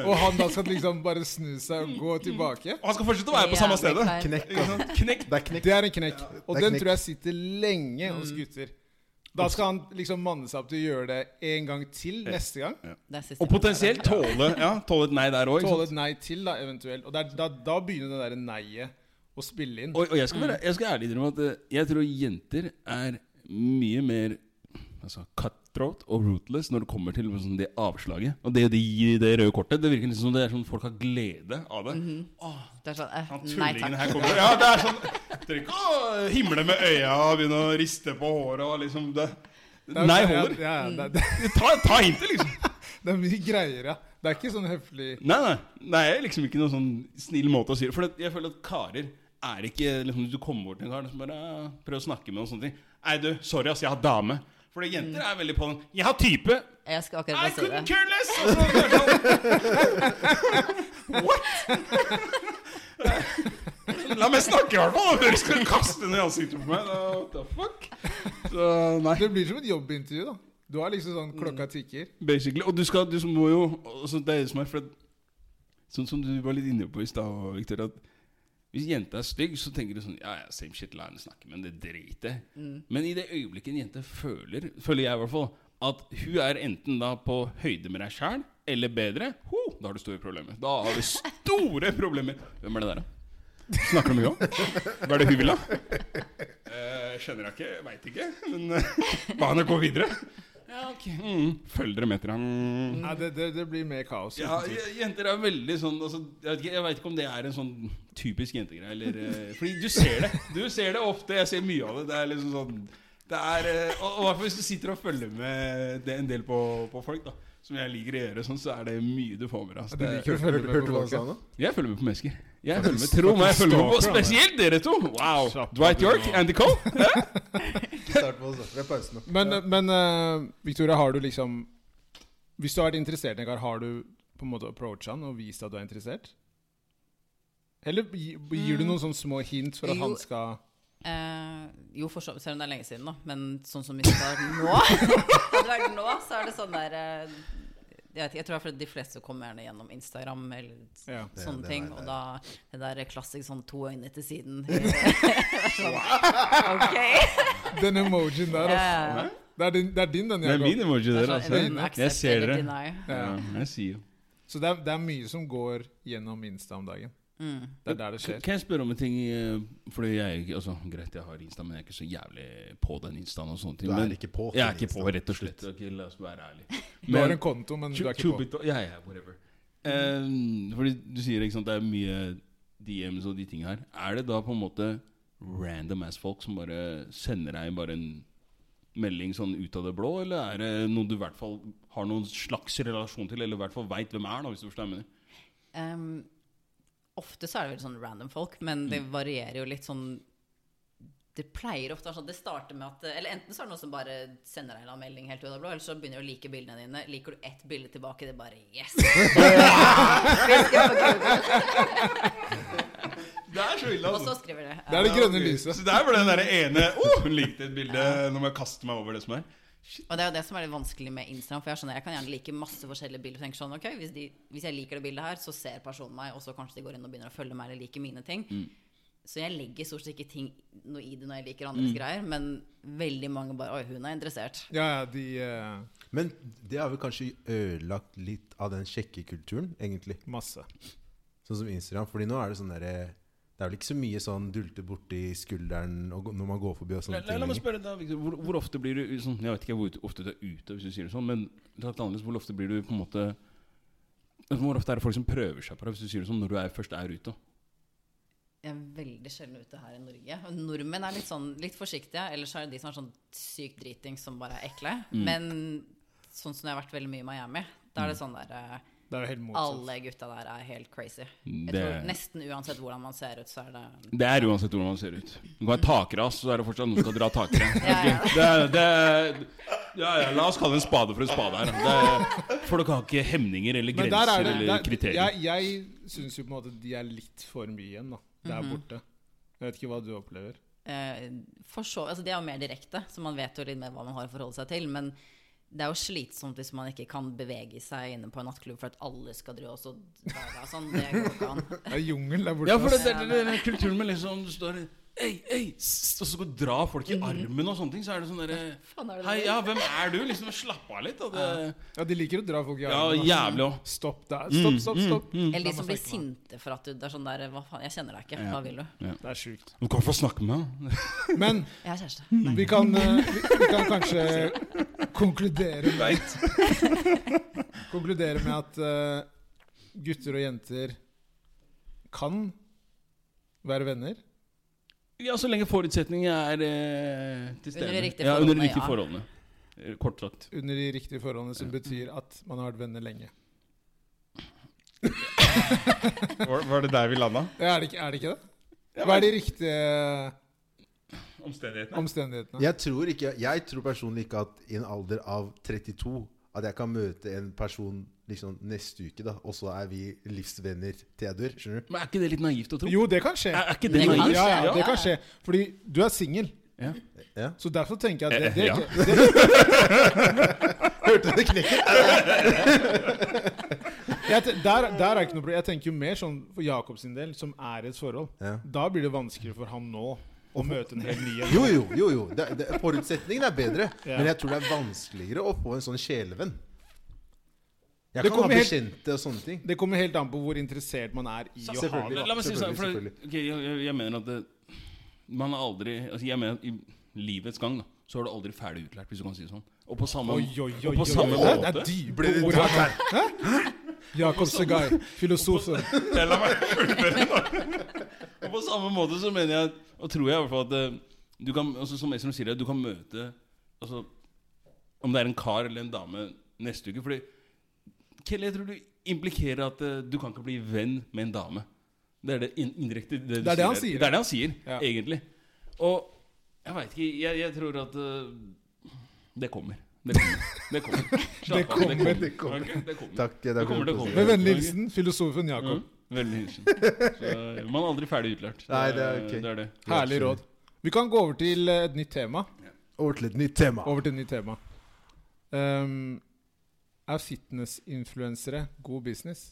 A: Og han da skal liksom bare snu seg og gå tilbake.
B: Og han skal fortsette å være på samme
D: Jævlig
B: stedet.
D: kleint.
C: Knekk,
B: Ikke
C: da.
B: sant? Knekt.
C: Det er knekk.
A: Det er en knekk. Og
C: det er
A: den
C: knekk.
A: tror jeg sitter lenge hos gutter. Da skal han liksom manne seg opp til å gjøre det en gang til neste gang.
D: Det er siste
B: Og
D: gang jeg
B: potensielt
D: er der.
B: tåle, ja, tåle et nei der òg.
A: Tåle et nei til, da, eventuelt. Og det er, da, da begynner det derre neiet å spille inn.
B: Og, og jeg, skal være, jeg skal ærlig innrømme at eh, jeg tror jenter er mye mer altså, cutthroat og rootless når det kommer til liksom, det avslaget. Og det de gir i det røde kortet, det virker liksom som det er sånn folk har glede av det.
D: Det er sånn, eh,
B: Han
D: nei
B: tullingen her
D: takk.
B: kommer Ja, det er sånn Trenger ikke å himle med øya og begynne å riste på håret og liksom det. sånn,
A: Det er- sånn
B: Nei holder.
A: Ja, ja, det, er-
B: Ta, ta hintet, liksom.
A: det er mye greier, ja. Det er ikke sånn høflig
B: Nei, nei. nei jeg er liksom ikke noen sånn snill måte å si det For jeg føler at karer er ikke liksom, Du kommer bort til en kar og bare ja, prøver å snakke med og sånne ting. Nei, du, sorry, ass, jeg har dame. For jenter er veldig på den. Jeg har type.
D: Jeg skal akkurat
B: I
D: bare si
B: couldn't
D: det.
B: care less! Og så er det sånn, [LAUGHS] What? La meg snakke, i hvert fall. Dere skal kaste den i ansiktet på meg. Da, What the fuck? Så, nei.
A: Det blir som et jobbintervju, da. Du har liksom sånn klokka tikker.
B: Basically. Og du skal, du som må jo altså, Det er det som er for at, Sånn som du var litt inne på i stad, Victor, at hvis jenta er stygg, så tenker du sånn Ja, ja, same shit, la henne snakke, men det driter jeg i. Men i det øyeblikket en jente føler, føler jeg i hvert fall, at hun er enten da på høyde med deg sjæl, eller bedre, ho, da har du store problemer. Da har du store [LAUGHS] problemer. Hvem er det der, da? Snakker du mye om? Hva er det hun vil, da? Eh, skjønner jeg ikke, veit ikke. Men eh, la henne gå videre. Ja, ok mm. Følg dere med til ham.
A: Nei, det, det, det blir mer kaos.
B: Ja,
A: uten tvil.
B: j- jenter er veldig sånn altså, Jeg vet ikke, jeg vet ikke om det er en sånn typisk jentegreie, eller eh, Fordi du ser det. Du ser det ofte. Jeg ser mye av det. Det er liksom sånn Det er eh, Og og i hvert fall hvis du sitter og følger med det en del på, på folk, da. Som jeg liker å gjøre, sånn, så er det mye du får med deg. Altså,
A: Du
B: det,
A: liker å følge
C: Hørte
A: med
C: hørte du
A: på
C: hva han sa
A: folket.
C: nå?
B: jeg følger med på mennesker. Jeg følger med, Tro meg, jeg følger med på
A: stalker, han,
B: spesielt dere to! Wow!
A: Slapp av,
B: Dwight
A: du
B: York,
A: nå.
B: Andy
A: [LAUGHS]
B: Cole.
C: Ikke start på å snakke. Det er pausen nå.
A: Men, men eh, Victoria, har du liksom Hvis du har vært interessert i en kar, har du på en måte approacha han og vist at du er interessert? Eller gi- gir du noen sånne små hint for at
D: Jo.
A: han skal
D: Eh, jo, for så selv om det er lenge siden, da. Men sånn som hvis det var nå [LAUGHS] Hadde det vært nå, så er det sånn der eh, jeg, vet, ikke, jeg tror det er fordi de fleste kommer gjerne gjennom Instagram eller s-
A: Ja.
C: Det-
D: sånne
C: det
D: ting.
C: er-
D: Og da det der klassisk sånn to øyne
B: [LAUGHS]
D: til siden. [LAUGHS] sånn, ok!
A: Den emojien der, altså.
D: Eh,
A: Det er din, det er din den
B: Det
A: jeg
B: er
A: går.
B: min emoji
D: det
B: der,
D: er sånn,
B: altså.
D: enten accept
B: Jeg ser
D: eller
B: dere.
D: deny.
B: Ja, jeg sier jo.
A: Så det er, det er mye som går gjennom Insta om dagen.
D: Mm.
A: Det er der det
B: Kan
A: skjer.
B: kan jeg spørre om en ting? eh, Fordi jeg er jo ikke altså, Greit, jeg har Insta, men jeg er ikke så jævlig på den Instaen og sånne ting.
C: Du er
B: Men
C: ikke på.
B: jeg er ikke på, rett og slett. Ok, la oss være ærlige.
A: Du har en konto, men du er ikke på.
B: Ja, ja, whatever. Eh, fordi du sier ikke sant, det er mye DMs og de tinga her. Er det da på en måte random ass folk som bare sender deg bare en melding sånn ut av det blå, eller er det noen du i hvert fall har noen slags relasjon til, eller i hvert fall veit hvem er, da, hvis du forstår hva jeg mener?
D: Ehm, ofte så er det vel sånn random folk, men det varierer jo litt sånn Det pleier ofte å være sånn Det starter med at Eller enten så er det noen som bare sender deg en eller annen melding helt ut av det blå, eller så begynner de å like bildene dine. Liker du ett bilde tilbake, det er bare Yes! [LAUGHS] Vi skal på Google.
B: Det er så ille,
D: Og så altså. skriver det.
A: Det er det grønne lyset.
B: Så der var den der ene oh, Hun likte et bilde. Nå må jeg kaste meg over det som er.
D: Og det er jo det som er litt vanskelig med Instagram. For jeg skjønner, jeg kan gjerne like masse forskjellige bilder. Og tenker sånn, ok, hvis, de, hvis jeg liker det bildet her, så ser personen meg, og så kanskje de går inn og begynner å følge meg eller liker mine ting. Så jeg legger stort sett ikke ting noe i det når jeg liker andres greier, men veldig mange bare Oi, hun er interessert.
A: Ja, ja, de eh,
C: Men det har vel kanskje ødelagt litt av den sjekkekulturen, egentlig.
A: Masse.
C: Sånn som Instagram. Fordi nå er det sånn derre Det er vel ikke så mye sånn dulte borti skulderen og, gå- når man går forbi og
B: La,
C: sånne
B: la, la meg
C: ting. lenger.
B: spørre deg, Victor, hvor, hvor ofte blir du sånn Jeg vet ikke hvor ofte du er ute, hvis du sier det sånn, men sagt annerledes, hvor ofte blir du på en måte Hvor ofte er det folk som prøver seg på deg, hvis du sier det sånn, når du er, først er ute?
D: Jeg er veldig sjelden ute her i Norge. Og nordmenn er litt sånn litt forsiktige, ellers er det de som er sånn sykt dritings som bare er ekle. Men sånn som jeg har vært veldig mye i Miami, da er det sånn der eh,
A: Det er jo helt motsatt.
D: Alle gutta der er helt crazy. Jeg
B: Det,
D: tror Nesten uansett hvordan man ser ut, så er det
B: det er uansett hvordan man ser ut. Du kan være takras, så er det fortsatt noen som skal dra takere.
D: [LAUGHS] Ja, ja.
B: Det, er- det, er- ja, ja, la oss kalle en spade for en spade her. Det, er- for dere har ikke hemninger eller
A: Men der er
B: grenser
A: det
B: eller
A: der,
B: kriterier.
A: Jeg, jeg syns jo på en måte de er litt for mye igjen, da. Der
B: Mhm.
A: borte. Jeg vet ikke hva du opplever.
D: Eh, for så, altså det er jo mer direkte, så man vet jo litt mer hva man har å forholde seg til. Men det er jo slitsomt hvis man ikke kan bevege seg inne på en nattklubb for at alle skal drive oss og dra deg og sånn. Det går ikke an.
A: Det er jungel der borte.
B: Ja, for det,
A: ass.
B: det, det, det, det er kulturen med liksom Du står ei, ei, s- og så går dra folk i armen og sånne ting. Så er det sånn
D: faen
B: derre
D: er det
B: Hei,
D: der?»
B: ja, hvem er du? Liksom Slapp av litt. Og det,
A: ja, de liker å dra folk i
B: ja, Mm,
A: armen. ass.
B: jævlig òg.
A: Stopp der. Stopp, stopp, stopp.
D: Eller
A: La
D: de
A: meg
D: som blir
A: snakke med
D: sinte for at du det er sånn der Hva faen, jeg kjenner deg ikke.
B: Ja.
D: Hva vil du?
A: deg. Det er sjukt.
B: Du kan få snakke [LAUGHS] med meg.
A: Men
D: Jeg er kjæreste. Nei.
A: vi kan, eh, vi, vi kan kanskje konkludere
B: Veit.
A: konkludere med at eh, gutter og jenter kan være venner.
B: Ja, så lenge forutsetningene er eh, til stede.
D: Under de riktige
B: ja, under de
D: forholdene,
B: riktige
D: ja.
B: forholdene. Eh, Kort sagt.
A: Under de riktige forholdene, som betyr at man har vært venner lenge.
B: Var, det der vi landa?
A: Er det ikke er det? Ikke det? Hva er de riktige eh,
B: Omstendighetene.
A: omstendighetene?
C: Jeg tror, ikke, jeg tror personlig ikke at i en alder av 32 at jeg kan møte en person liksom neste uke, da, og så er vi livsvenner til jeg dør. Skjønner du?
B: Men er ikke det litt naivt å tro?
A: Jo, det kan skje.
B: Er, er ikke det
D: Det kan
B: naivt?
A: Ja, ja,
D: skje,
A: det
D: ja.
A: kan skje. Fordi du er singel.
B: Ja.
C: Ja.
A: Så derfor tenker jeg at det,
B: Eh,
A: det,
B: ja.
A: er ikke- det,
C: Hørte du det knekker?
A: jeg, te- der, der er ikke noe problem. Jeg tenker jo mer sånn for Jakob sin del, som er i et forhold.
C: Ja.
A: Da blir det vanskeligere for ham nå å møte en helt ny en.
C: Jo, jo, jo. jo. Det, det, forutsetningen er bedre.
A: Ja.
C: Men jeg tror det er vanskeligere å få en sånn sjelevenn. Jeg
A: Det
C: kan ha
A: kommer helt-
C: bekjente og sånne ting.
A: Det kommer helt an på hvor interessert man er i å ha
C: Selvfølgelig.
A: det.
B: La, la meg si det sånn, for det,
C: Selvfølgelig,
B: ok, jeg, jeg- jeg mener at det, man er aldri altså Jeg mener at i livets gang da så er du aldri ferdig utlært, hvis du kan si det sånn. Og på samme,
A: Oi, oi, oi,
B: og på
A: oi,
B: samme
A: oi.
B: måte
A: Det er dype ord her. Hæ? Jakob Segai, filosofen.
B: [LAUGHS] Ja, La meg fullføre, da. Og på samme måte så mener jeg, og tror jeg i hvert fall at eh, du kan, altså, Som Esrom sier, du kan møte altså, Om det er en kar eller en dame neste uke. Fordi Kelly, jeg tror du implikerer at eh, du kan ikke bli venn med en dame. Det er det in indirekte det, du
A: Det er det han
B: her.
A: sier.
B: Det er det han sier,
A: Ja.
B: egentlig. Og jeg veit ikke Jeg, jeg tror at eh, Det kommer. Det kommer. Det
A: [LAUGHS]
B: kommer. Slapp av,
A: kommer,
C: det kommer.
B: Ok, det kommer.
C: Takk. Det,
B: Det kommer, det kommer.
A: Med vennlig hilsen filosofen Jakob.
B: Mm, Veldig
C: [LAUGHS]
B: hilsen. Så eh, man er aldri ferdig utlært.
C: Nei, det er ok.
B: det, er det.
A: Herlig råd. Vi kan gå over til eh, et nytt tema.
C: Over til et nytt tema.
A: Over til et nytt tema. Ehm, er fitnessinfluensere god business?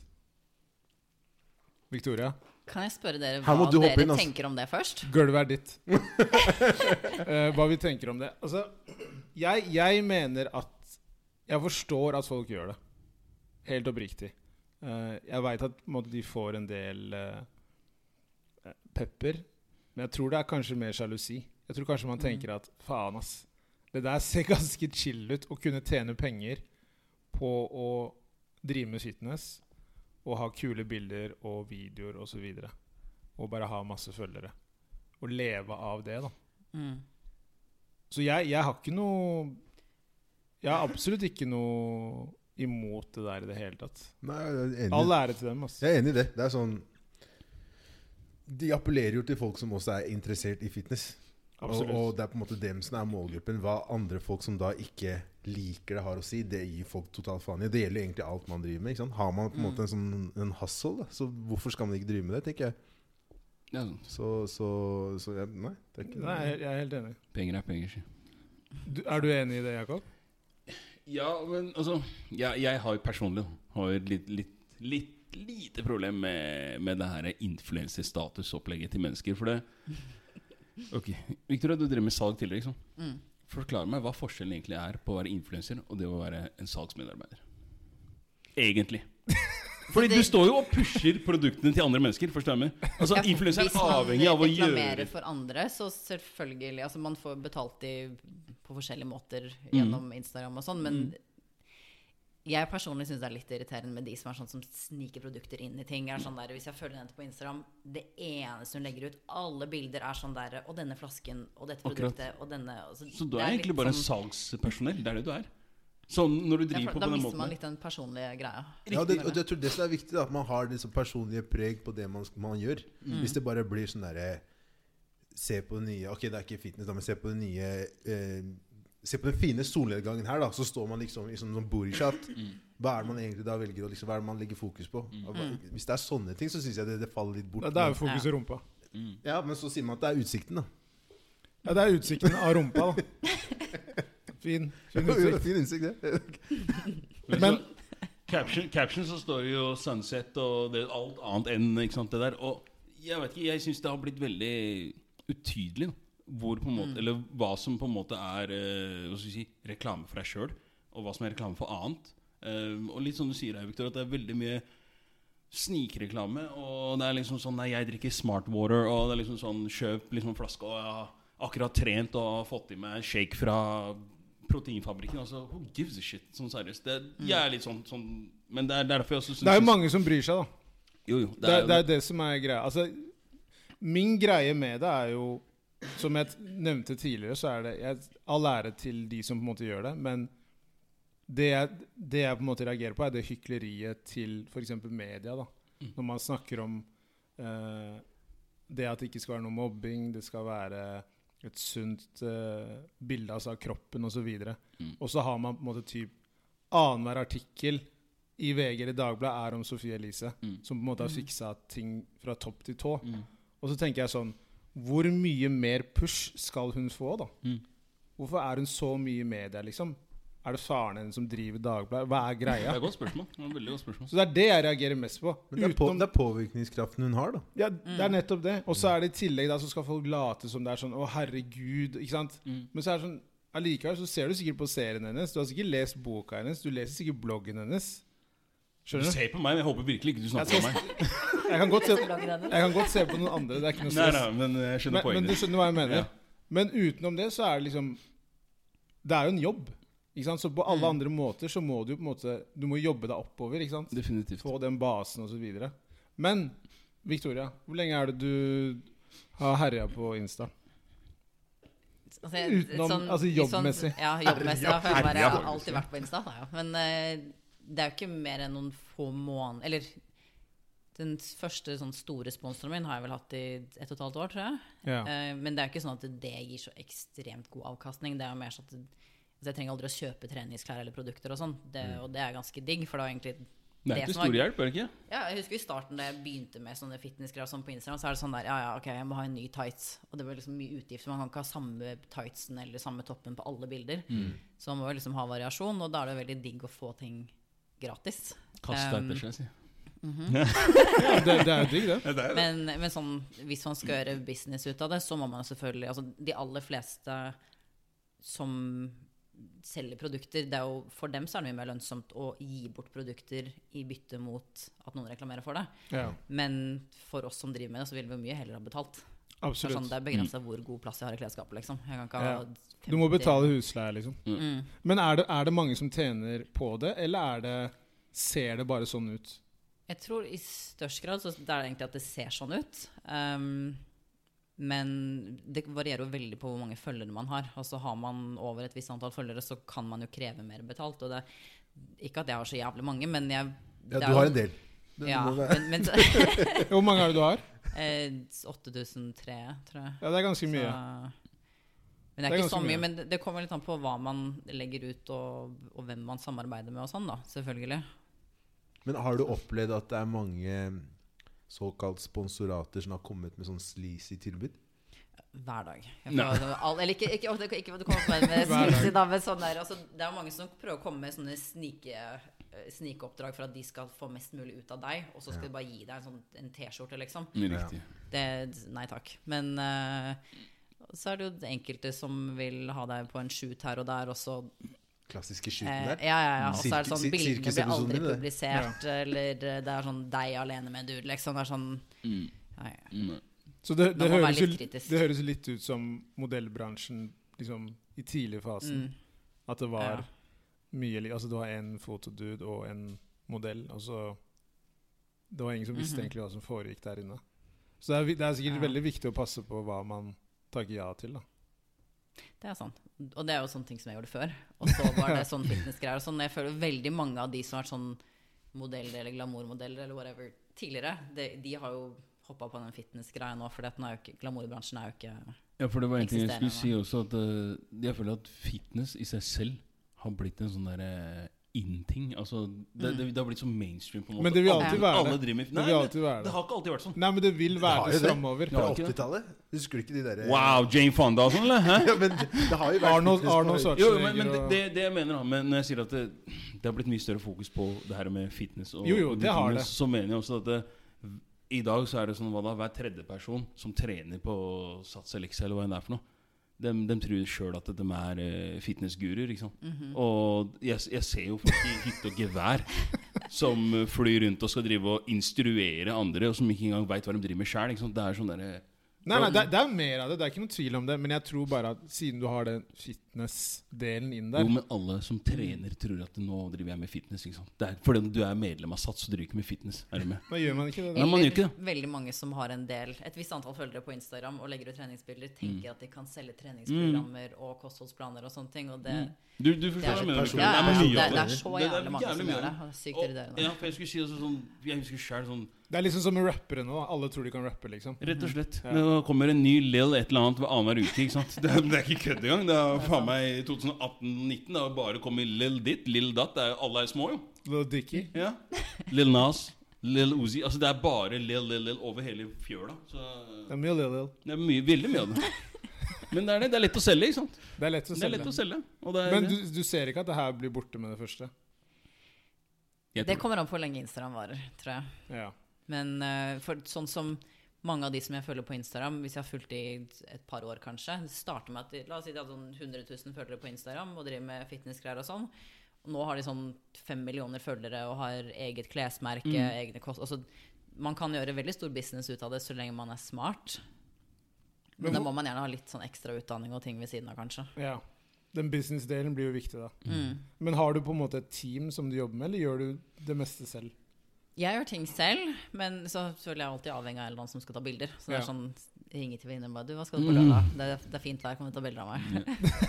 A: Victoria,
D: Kan jeg spørre dere
C: Her
D: hva
C: må du hoppe
D: dere
C: inn, altså.
D: tenker om det først?
A: gulvet er ditt. Eh, hva vi tenker om det. Altså, jeg, jeg mener at Jeg forstår at folk gjør det. Helt oppriktig. Eh, jeg veit at på en måte, de får en del eh, pepper, men jeg tror det er kanskje mer sjalusi. Jeg tror kanskje man tenker at faen, ass. Det der ser [LAUGHS] ganske chill ut å kunne tjene penger på å drive med fitness og ha kule bilder og videoer osv. Og, så videre.
D: Mm,
A: og bare ha masse følgere. Og leve av det, da. Så jeg, jeg har ikke noe Jeg har absolutt ikke noe imot det der i det hele tatt.
C: Nei, jeg er enig.
A: All ære til dem, altså.
C: Jeg er enig i det. Det er sånn De appellerer jo til folk som også er interessert i fitness. Og,
A: Absolutt.
C: og det er på en måte dem som er målgruppen. Hva andre folk som da ikke liker det, har å si, det gir folk totalt faen i. Det gjelder egentlig alt man driver med. Ikke sant? Har man på
A: Mm.
C: en måte en sånn en hustle, da, så hvorfor skal man ikke drive med det, tenker jeg.
B: Ja, sånn.
C: Så, så, så jeg, Nei, det er ikke
A: Nei, jeg jeg er helt enig.
B: Penger er penger, sier
A: Du, er du enig i det, Jakob?
B: Ja, men altså Jeg, jeg har jo personlig har jo litt, litt, litt lite problem med, med det her influensestatusopplegget til mennesker.
C: [LAUGHS]
B: For det Ok, Victoria, du drev med salg tidligere. ikke sant?
D: mm.
B: Forklar meg hva forskjellen egentlig er på å være influenser og det å være en salgsmedarbeider.
C: [LAUGHS]
B: Egentlig. Fordi du står jo og pusher produktene til andre mennesker. forstår jeg meg? Altså, Influenser
D: Hvis
B: er
D: man
B: avhengig av å
D: reklamerer
B: gjøre
D: for andre, så selvfølgelig Altså, man får betalt de på forskjellige måter
B: Mm.
D: gjennom Instagram og sånn, men jeg personlig syns det er litt irriterende med de som er sånn som sniker produkter inn i ting. Er sånn der, hvis jeg følger henne på Instagram, det eneste hun legger ut Alle bilder er sånn der Og denne flasken, og dette
B: Akkurat.
D: produktet, og denne altså,
B: Så du
D: det
B: er
D: litt
B: egentlig bare
D: sånn-
B: salgspersonell. Det er det du er. Sånn når du
D: Ja,
B: driver
D: for
B: på
D: Da
B: på den
D: mister
B: måten.
D: man
B: der.
D: litt den personlige greia.
C: Ja, det, og jeg tror det som er viktig, da, at man har det så personlige preg på det man, man gjør.
D: Mm.
C: Hvis det bare blir sånn derre Se på den nye Ok, det er ikke fitness, da, men se på den nye eh, Se på den fine solnedgangen her, da. Så står man liksom i sånn, sånn bodyshot.
D: Mm.
C: Hva er det man egentlig da velger å liksom, Hva er det man legger fokus på? Hva,
D: Mm.
C: hvis det er sånne ting, så syns jeg det, det faller litt bort.
A: Da, da er jo fokuset rumpa.
D: Mm.
C: Ja, men så sier man at det er utsikten, da.
A: Ja, det er utsikten av [LAUGHS] rumpa, da. Fin,
C: [LAUGHS]
A: fin utsikt.
C: Fin utsikt, det.
D: [LAUGHS]
A: Men-
B: Så, caption, caption så står det jo 'Sunset' og det, alt annet enn ikke sant, det der. Og jeg vet ikke, jeg syns det har blitt veldig utydelig da, hvor på en
D: Mm.
B: måte, eller hva som på en måte er eh, hva skal vi si, reklame for deg sjøl, og hva som er reklame for annet. Eh, og litt som du sier her, Victor, at det er veldig mye snikreklame. Og det er liksom sånn Nei, jeg drikker smart water, og det er liksom sånn Kjøp liksom en flaske, og jeg har akkurat trent og har fått i meg en shake fra proteinfabrikken. Altså, who gives a shit? Sånn seriøst. Det, jeg er litt sånn, sånn Men det er derfor jeg også syns
A: Mm. Det er jo mange som bryr seg, da.
B: Jo, jo.
A: Det er, det er det som er greia. Altså, min greie med det er jo Som jeg t- nevnte tidligere, så er det jeg, all ære til de som på en måte gjør det, men det jeg, det jeg på en måte reagerer på, er det hykleriet til f.eks. media. da. Når man snakker om eh, det at det ikke skal være noe mobbing, det skal være et sunt eh, bilde altså, av kroppen osv. Og, mm. og så har man på en måte typ annenhver artikkel i VG eller Dagbladet er om Sofie Elise, som på en måte har fiksa ting fra topp til tå. Og så tenker jeg sånn Hvor mye mer push skal hun få, da? Hvorfor er hun så mye i media, liksom? Er det faren hennes som driver Dagbladet? Hva er
B: det
A: greia?
B: [LAUGHS] er et godt spørsmål. Det er et veldig godt spørsmål.
A: Så det er det jeg reagerer mest på.
C: Men det er, på,
A: Utenom-
C: det er påvirkningskraften hun har, da.
A: ja, det er nettopp det. Og så er det i tillegg da, så skal folk late som det er sånn Å, herregud. Ikke sant? Men så er det sånn Allikevel så ser du sikkert på serien hennes. Du har sikkert lest boka hennes. Du leser sikkert bloggen hennes.
B: Du
A: Skjønner du?
B: ser på meg, men jeg håper virkelig ikke du
A: Jeg,
B: snakker om meg.
A: skal, jeg, kan godt se,
D: Bloggen hennes.
A: jeg kan godt se på noen andre. Det er ikke noe
B: Nei,
A: stress.
B: nei, men jeg skjønner
A: Men, men
B: poenget
A: du
B: ditt.
A: skjønner hva jeg mener.
B: Ja.
A: Men utenom det så er det liksom Det er jo en jobb. Ikke sant? Så på alle andre måter så må du jo på en måte Du må jobbe deg oppover. Ikke sant?
B: Definitivt.
A: Få den basen og så videre Men Victoria, hvor lenge er det du har herja på Insta?
D: Altså, jeg-
A: Utenom- altså, jobbmessig.
D: Sånn, ja, jobbmessig. Ja, for jeg, bare,
C: Herja.
D: jeg har alltid vært på Insta. Da, ja. Men eh, det er jo ikke mer enn noen få måneder Eller den første sånn store sponsoren min har jeg vel hatt i ett og et halvt år, tror jeg.
A: Ja.
D: Eh, men det er jo ikke sånn at det gir så ekstremt god avkastning. Det er jo mer sånn at altså, jeg trenger aldri å kjøpe treningsklær eller produkter og sånn. Det, og det er ganske digg, for det var egentlig
B: Mm. Det er ikke
D: som var-
B: stor hjelp, er det ikke?
D: ja, jeg husker i starten da jeg begynte med sånne fitnessgreier og sånn på Instagram, så er det sånn der Ja, ja, ok, jeg må ha en ny tights. Og det var liksom mye utgifter. Man kan ikke ha samme tightsen eller samme toppen på alle bilder.
A: Mm.
D: Så man må jo liksom ha variasjon, og da er det veldig digg å få ting gratis.
B: Kast deg
D: Um,
B: etter seg, sier jeg.
A: Ja, det, det er jo digg, det.
D: Men, men sånn, hvis man skal gjøre business ut av det, så må man selvfølgelig Altså, de aller fleste som selger produkter, det er jo, for dem så er det mye mer lønnsomt å gi bort produkter i bytte mot at noen reklamerer for det.
A: Ja,
D: Men for oss som driver med det, så vil vi mye heller ha betalt. Det er, sånn,
A: absolutt.
D: det er
C: Mm.
D: begrensa hvor god plass jeg har i klesskapet, liksom. Jeg kan ikke ha Mm.
A: Ja. Du må
D: 50
A: betale husleie, liksom. Men er det, er det mange som tjener på det, eller er det ser det bare sånn ut?
D: Jeg tror i størst grad så det er det egentlig at det ser sånn ut. Um, Men det varierer jo veldig på hvor mange følgere man har. Og så har man over et visst antall følgere, så kan man jo kreve mer betalt. Og det, ikke at jeg har så jævlig mange, men jeg
C: Ja,
D: det er
C: du
D: jo-
C: har en del. Det
D: Ja,
C: må være-
D: men, men
A: Hvor mange er det du har?
D: [LAUGHS] eh, 8003, tror jeg.
A: Ja, det er ganske mye.
D: Så- Men det
A: Det
D: er
A: er
D: ikke så
A: ganske
D: mye,
A: mye.
D: men det- det kommer litt an på hva man legger ut, og, og hvem man samarbeider med og sånn, da. Selvfølgelig.
C: Men har du opplevd at det er mange såkalt sponsorater som har kommet med sånn sleazy tilbud?
D: Hver dag. Jeg
B: Nei.
D: prøver å- all, eller ikke, ikke, ikke, ikke at du kommer
A: [LAUGHS]
D: på en med
A: Hver dag.
D: snikse, da, men sånn der. Altså, det er mange som prøver å komme med sånne snike, eh, snikeoppdrag for at de skal få mest mulig ut av deg, og så skal de bare gi deg en sånn en T-skjorte, liksom.
B: Mm, Riktig.
D: Det, nei takk. Men eh, så er det jo det enkelte som vil ha deg på en shoot her og der, og så
C: Klassiske
D: Eh,
C: skuten der?
D: Ja, ja, ja. Og så er
C: Sirkus-
D: det sånn,
C: sir-
D: bildene blir
C: sirkusepisoden
D: aldri
C: din, det.
D: publisert, eller eh, det er sånn deg alene med en dude, liksom. Det er sånn
B: Mm.
D: nei,
B: Mm.
A: Så det,
D: Man
A: det,
D: må være
A: høres jo,
D: litt kritisk.
A: det høres jo litt ut som modellbransjen liksom, i tidligfasen.
D: mm,
A: At det
D: ja.
A: var mye li- Altså, det var en fotodude og en modell, og så Det var ingen som visste
D: Mhm.
A: egentlig hva som foregikk der inne. Så det er, vi- det er sikkert
D: Ja.
A: veldig viktig å passe på hva man takker ja til, da.
D: Det er sånn. Og det er jo sånne ting som jeg gjorde før. Og så var
A: [LAUGHS]
D: det sånn fitnessgreier og sånn. Jeg føler veldig mange av de som har vært sånn modeller eller glamourmodeller eller whatever tidligere, de, de har jo hoppa på den fitnessgreia nå, for glamourbransjen er jo ikke
B: Ja, for det var en ting jeg skulle
D: Eksisterende.
B: si også, at eh, jeg føler at fitness i seg selv har blitt en sånn derre in-ting. Altså, det, det, det har blitt så mainstream, på en måte.
A: Men det vil
B: Alle-
A: alltid være
B: alle
A: det.
B: driver med
A: Det
B: Nei,
A: vil
B: men
A: alltid være
B: det
A: det.
B: har ikke alltid vært sånn.
A: Nei, men det vil
C: har
A: være
C: jo
A: det
C: det.
A: framover.
B: Ja.
C: Fra
B: har ikke det.
C: 80-tallet? Husker du ikke de derre
B: Wow, Jane Fonda og sånn, eller?
C: [LAUGHS]
B: Hæ?
C: Ja, men det har jo vært
A: Arnold,
C: fitness på-
A: Arnold
B: Jo, men, men
A: Schwarzenegger
B: det,
A: og
B: det, det jeg mener da men Når jeg sier at det, det har blitt mye større fokus på det her med fitness og,
A: Jo, jo,
B: og de
A: det har det.
B: tingene, Så mener jeg også at det, i dag så er det sånn hva da, hver tredje person som trener på Sats Elixia eller hva enn det er for noe, de, tror sjøl at de er eh, fitnessguruer. Ikke sant? Og jeg, jeg ser jo folk i hytte og gevær som eh, flyr rundt og skal drive og instruere andre, og som ikke engang veit hva de driver med sjøl. Det er sånn derre
A: Nei, nei, det, det er mer av det. Det er ikke noen tvil om det. Men jeg tror bare at siden du har den fitness-delen inn der
B: Jo, men alle som trener tror at nå driver jeg med fitness. Ikke sant? Det er, fordi om du er medlem av SATS, så driver du ikke med fitness. Er du med?
A: Da gjør man ikke det.
B: Nei,
A: Da.
B: man gjør ikke
D: Eller
B: det.
D: veldig mange som har en del et visst antall følgere på Instagram og legger ut treningsbilder,
B: Mm.
D: tenker at de kan selge treningsprogrammer og kostholdsplaner og sånne ting. Og det,
B: Du, du forstår
D: Det er
B: hva jeg
D: så
B: mener.
C: personlig.
B: Mm. det
C: Ja,
B: er
C: ja,
B: mye
C: det-
B: av
C: det
D: er så jævlig mange som
B: mye
D: gjør
B: av
D: det. Sykt
B: Og-
D: irriterende.
B: Ja, for jeg skulle si også sånn Jeg husker sjøl sånn
A: Det er liksom som med rappere nå. Alle tror de kan rappe, liksom.
B: Rett
D: Mhm.
B: og slett. Nå kommer en ny Lill et eller annet ved annenhver uke. Ikke sant? Det, er- det er ikke kødd engang. Det er faen meg 2018-19. Da bare kommer Lill ditt, Lill datt. Det er, jo- alle er små, jo.
A: Lil Dicky.
B: Ja. Lill Nas, Lill Uzi. Altså, det er bare Lill, Lill, Lill over hele fjøla. Så
A: Det er mye Lil Lil.
B: Det er mye, veldig mye av det. Men det er det, det er lett å selge, ikke sant?
A: Det er lett å
B: Det er lett
A: selge.
B: å selge. Og det er
A: Men du, du ser ikke at det her blir borte med det første?
B: Jeg
D: det
B: tror-
D: kommer an på hvor lenge Instagram varer, tror jeg.
A: Ja.
D: Men eh, for sånn som mange av de som jeg følger på Instagram, hvis jeg har fulgt i et par år kanskje, det starter med at de, la oss si de hadde sånn 100 000 følgere på Instagram og driver med fitnessgreier og sånn. Og nå har de sånn 5 millioner følgere og har eget klesmerke,
A: Mm.
D: egne kost... Altså, man kan gjøre veldig stor business ut av det så lenge man er smart. Men,
A: Men
D: da
A: hvor-
D: må man gjerne ha litt sånn ekstra utdanning og ting ved siden av, kanskje.
A: ja. Den business-delen blir jo viktig, da.
D: Mm.
A: Men har du på en måte et team som du jobber med, eller gjør du det meste selv?
D: Jeg gjør ting selv, men så føler jeg alltid avhengig av noen som skal ta bilder. Så det
A: Ja.
D: er sånn, ringer til venninner og bare 'Du, hva skal du på
B: Mm.
D: lørdag?' Det, er- 'Det er fint vær, kommer til å ta bilder av meg.' [LAUGHS]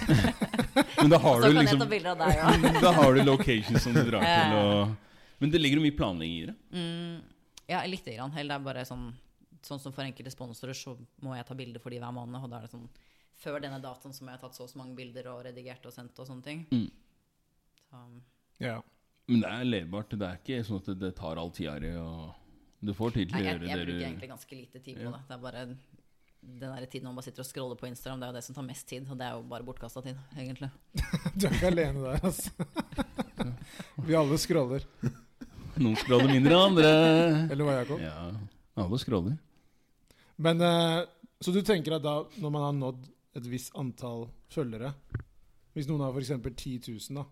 B: Men da
D: Så
B: Mm. har
D: kan
B: du
D: jeg ta
B: [LAUGHS] liksom
D: bilder av deg òg.
B: Da har du locations som du drar
D: Ja.
B: til, og Men det ligger jo mye planlegging i det.
D: Mm, ja, lite grann. Eller det er bare sånn Sånn som for enkelte sponsorer, så må jeg ta bilder for de hver måned. Og da er det sånn Før denne datoen så må jeg ha tatt så og så mange bilder og redigert og sendt og sånne ting.
B: Mm.
D: Så, um,
A: Ja.
B: Men det er levbart. Det er ikke sånn at det tar all tida di, og Du får tid
D: nei,
B: til å
D: jeg,
B: gjøre
D: jeg
B: det
D: bruker
B: du
D: egentlig ganske lite tid
B: Ja.
D: på det. Det er bare den der tiden man bare sitter og scroller på Instagram, det er jo det som tar mest tid. Og det er jo bare bortkasta tid, egentlig.
A: [LAUGHS] Du er ikke alene der, [LAUGHS] altså. Vi alle scroller.
B: Noen scroller mindre enn
A: [LAUGHS]
B: andre.
A: Eller hva, Jakob?
B: Ja, alle scroller.
A: Men eh, Så du tenker at da, når man har nådd et visst antall følgere Hvis noen har f.eks. 10 000, da,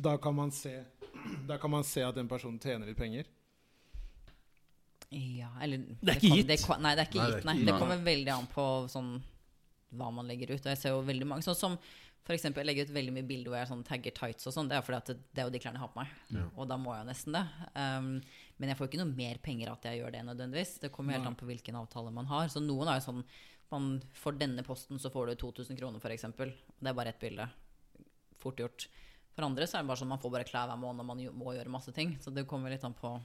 A: da kan, man se, [CLEARS THROAT] da kan man se at den personen tjener litt penger?
D: Ja, eller
B: Det er ikke
D: kom-
B: gitt.
D: Det, ko- nei, det er ikke
C: Nei, det er
D: gitt.
C: ikke
D: Nei.
B: gitt.
D: Det
B: Nei.
D: kommer veldig an på sånn, hva man legger ut. Og jeg ser jo veldig mange Sånn som for eksempel, jeg legger ut veldig mye bilder hvor jeg sånn, tagger tights og sånn. Det er fordi at det, det er jo de klærne jeg har på meg. Og da må jeg jo nesten det. Um, men jeg får ikke noe mer penger at jeg gjør det nødvendigvis. Det kommer helt an på hvilken avtale man har. Så noen har jo sånn man, For denne posten så får du 2000 kroner, f.eks. Det er bare ett bilde. Fort gjort. For andre så er det bare sånn man får bare klær hver måned, og man jo- må gjøre masse ting. Så det kommer litt an på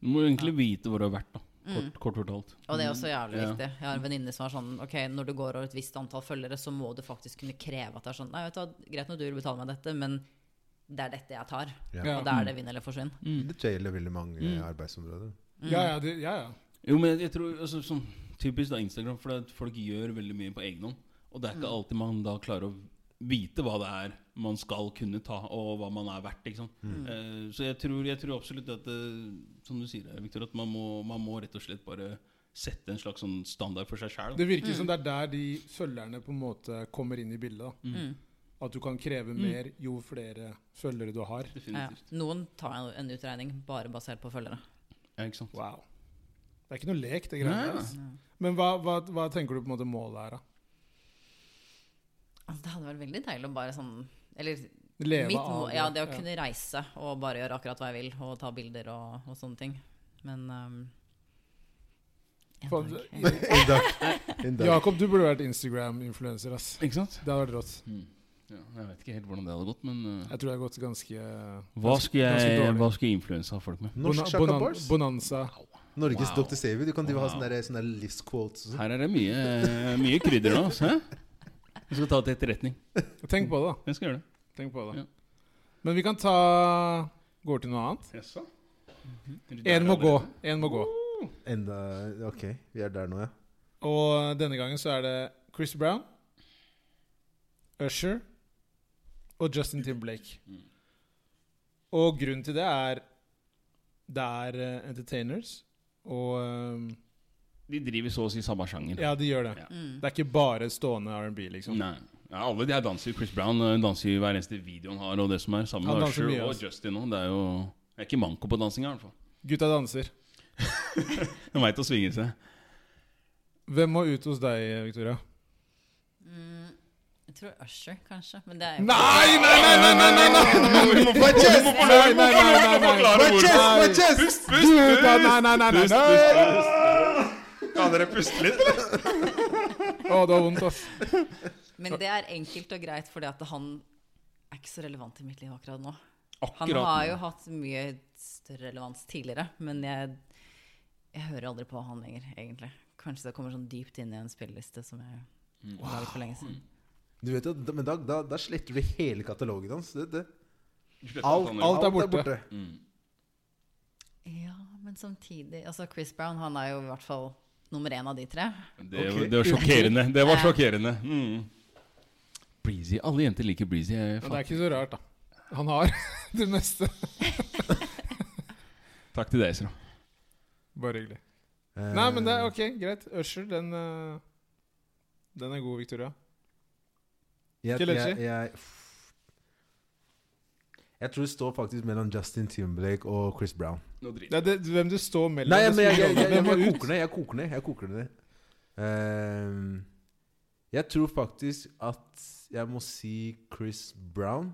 B: Du må egentlig vite hvor du har vært, da.
D: Mm.
B: Kort, kort fortalt.
D: Og det
A: Mm.
D: er også jævlig
B: Ja.
D: viktig. Jeg har en venninne som er sånn Ok, når du går over et visst antall følgere, så må du faktisk kunne kreve at det er sånn Nei, vet du hva, greit når du vil betale meg dette, men det er dette jeg tar.
A: Ja. Mm.
D: Og da er det vinn eller forsvinn.
B: Mm.
C: Det tror jeg gjelder veldig mange eh, arbeidsområder.
A: Ja,
D: Mm.
A: ja, det, ja, ja.
B: Jo, men jeg tror altså, sånn, Typisk da Instagram, for at folk gjør veldig mye på egen hånd. Og det er
D: Mm.
B: ikke alltid man da klarer å vite hva det er man skal kunne ta, og hva man er verdt. Ikke sant?
D: Mm.
A: Mm.
B: Eh, så jeg tror, jeg tror absolutt at eh, Som du sier, Victor, at man må, man må rett og slett bare sette en slags sånn standard for seg sjæl.
A: Det virker
D: Mm.
A: som det er der de følgerne på en måte kommer inn i bildet. Da.
D: Mm.
A: At du kan kreve mer jo flere følgere du har.
D: Ja.
B: Definitivt.
D: Noen tar en- en utregning bare basert på følgere.
B: Ja, ikke sant?
A: Wow. Det er ikke noe lek, det
B: Nei,
A: greiene
B: nei.
A: der. Altså. Men hva, hva, hva tenker du på en måte målet er, da?
D: Altså, det hadde vært veldig deilig å bare sånn Eller
A: Leve
D: mitt
A: av
D: mål Ja, det å kunne reise og bare gjøre akkurat hva jeg vil, og ta bilder og, og sånne ting. Men um, en
A: Faen,
D: dag.
A: det-
D: Jeg-
C: En dag. En dag.
A: Jakob, du burde vært Instagram-influenser, ass.
B: Ikke sant?
A: Det hadde vært rått.
B: Mm. Ja, jeg vet ikke helt hvordan det hadde gått, men eh,
A: Jeg tror det har gått ganske
B: hva skal jeg,
A: dårlig.
B: hva skal jeg influense av folk med?
C: Norsk
A: Bona-
C: Shaka
A: bonan-
C: Bars.
A: Bonanza.
C: Norges
B: Wow.
C: Dr. Savi. Du kan drive og ha
B: Wow.
C: sånne, der- sånne der livsquotes. og sånn.
B: Her er det mye, eh, mye krydder nå. altså, Hæ? Vi skal ta til etterretning.
A: Tenk på det, da.
B: Jeg skal gjøre det.
A: Tenk på det.
B: Ja.
A: Men vi kan ta Går til noe annet?
B: Jaså?
D: Mhm.
A: Én må gå. En må gå.
C: sånn. Enda Ok, vi er der nå, ja.
A: Og denne gangen så er det Chris Brown, Usher og Justin Timberlake. Og grunnen til det er det er eh, entertainers, og eh,
B: De driver så å si samme sjanger.
A: Ja, de gjør det.
B: Ja.
D: Mm.
A: Det er ikke bare stående R&B, liksom.
B: Nei. Ja, alle de her danser. Chris Brown eh, danser i hver eneste video han har. Og det som er Sammen
A: Han
B: med
A: danser
B: Usher
A: mye,
B: og
A: altså.
B: Justin nå. Det er jo det er ikke manko på dansing, i hvert fall.
A: Gutta danser.
B: De veit å svinge seg.
A: Hvem må ut hos deg, Victoria?
D: Mm, jeg tror Usher, kanskje. Men det er
A: Nei, nei, nei, nei, nei, nei, nei, nei, nei,
B: Du må
C: Matches!
A: nei, nei, nei, nei, nei.
C: Matches!
A: Nei.
C: Matches!
B: Pust,
A: Du, da, nei, nei, nei, nei, nei.
B: Kan dere puste litt, eller?
A: Å, det var vondt, ass.
D: Men det er enkelt og greit, fordi at han er ikke så relevant i mitt liv akkurat nå. Han
B: Akkurat.
D: har
B: nå.
D: jo hatt mye større relevans tidligere, men jeg, jeg hører aldri på han lenger, egentlig. Kanskje det kommer sånn dypt inn i en spilleliste som jeg
B: Mm.
D: laget for lenge siden.
C: Du vet jo, da- men da, da, da sletter du hele katalogen hans. Det, det.
B: Slett
C: Alt,
B: at han-
A: alt er borte.
B: Mm.
D: Ja, men samtidig Altså, Chris Brown, han er jo i hvert fall nummer én av de tre.
B: Det,
C: Ok.
B: var- det var sjokkerende. Det var
D: Ja.
B: sjokkerende. Mm. Breezy. Alle jenter liker Breezy. Jeg,
A: Men det
B: faen.
A: er ikke så rart, da. Han har [LAUGHS] det meste.
B: Takk til deg, Isra.
A: Bare hyggelig.
C: Eh,
A: Nei, men det er ok, greit. Usher, den eh, Den er god, Victoria.
C: jeg, jeg,
A: Kelechi?
C: jeg, jeg, tror det står faktisk mellom Justin Timberlake og Chris Brown.
A: Det er det, hvem du står mellom.
C: Nei,
A: det
C: men jeg,
A: spiller
C: jeg, jeg,
A: rolle.
C: jeg,
A: Hvem
C: jeg
A: må ut?
C: koker ned. Jeg koker ned. Jeg, koker ned. Ehm, jeg tror faktisk at jeg må si Chris Brown,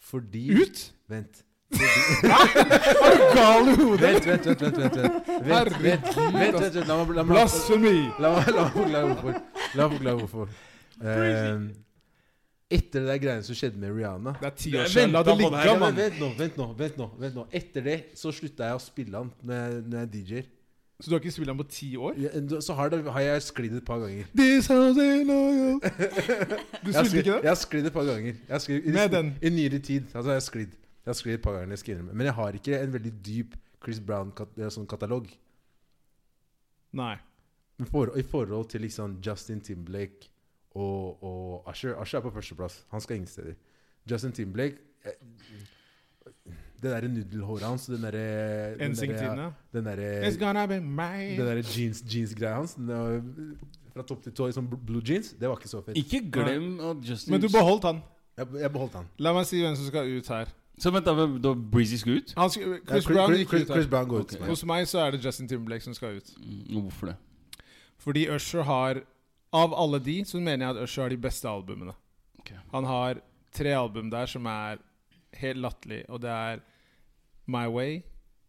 C: fordi
A: Ut?
C: Vent.
A: [LAUGHS]
C: Fordi,
A: Gal i hodet!
C: Vent, vent, vent.
A: [LAUGHS]
C: vent, vent, vent. vent,
A: Herregud,
C: vent, vent, vent, vent. La meg la meg-
A: Blasfemi!
C: La meg la meg forklare hvorfor. La meg forklare hvorfor. Ehm, etter det der greiene som skjedde med Rihanna
A: Det er ti
B: Jeg
A: år siden. La det
B: ventet på det
A: ligge,
B: her,
C: Ja, men
A: mann.
C: vent nå, vent nå, vent nå, vent nå. Etter det så slutta jeg å spille han når jeg, når jeg DJ-er.
A: Så du har ikke spilt den på ti år?
C: Ja, Så har, det, har jeg sklidd et par ganger.
A: This house ain't
C: [LAUGHS]
A: loyal. Du
C: Jeg
A: spilte
C: har sklidd,
A: ikke
C: jeg
A: det?
C: har sklidd et par ganger. Jeg har sklidd, i,
A: Med den?
C: I nyere tid. Altså, jeg har sklidd. Jeg har sklidd et par ganger, jeg skal innrømme. Men jeg har ikke en veldig dyp Chris Brown-katalog. Sånn katalog.
A: Nei.
C: Men for, I forhold til liksom Justin Timberlake og, og Usher Usher er på førsteplass. Han skal ingen steder. Justin Timberlake eh, Det derre nudelhåret hans, den derre den derre-
A: NSYNC-tidene.
C: Den derre
A: It's gonna be
C: den
A: mine.
C: derre jeans- jeans-greia hans, den der, fra topp til tå i sånn bl- blue jeans, det var ikke så fett.
B: Ikke glem at Justin
A: Men du beholdt han.
C: Jeg, jeg beholdt han.
A: La meg si hvem som skal ut her.
B: Så vent da, hvem- da Breezy skal ut?
A: Han skal,
C: Ja,
A: Chris Brown
C: Chris,
A: gikk
C: Chris,
A: ut her.
C: Chris Brown går ut.
B: Ok.
C: som jeg.
A: Hos meg så er det Justin Timberlake som skal ut.
B: Mm, Hvorfor det?
A: Fordi Usher har Av alle de så mener jeg at Usher har de beste albumene.
B: Ok.
A: Han har tre album der som oh er helt latterlig, og det er My Way,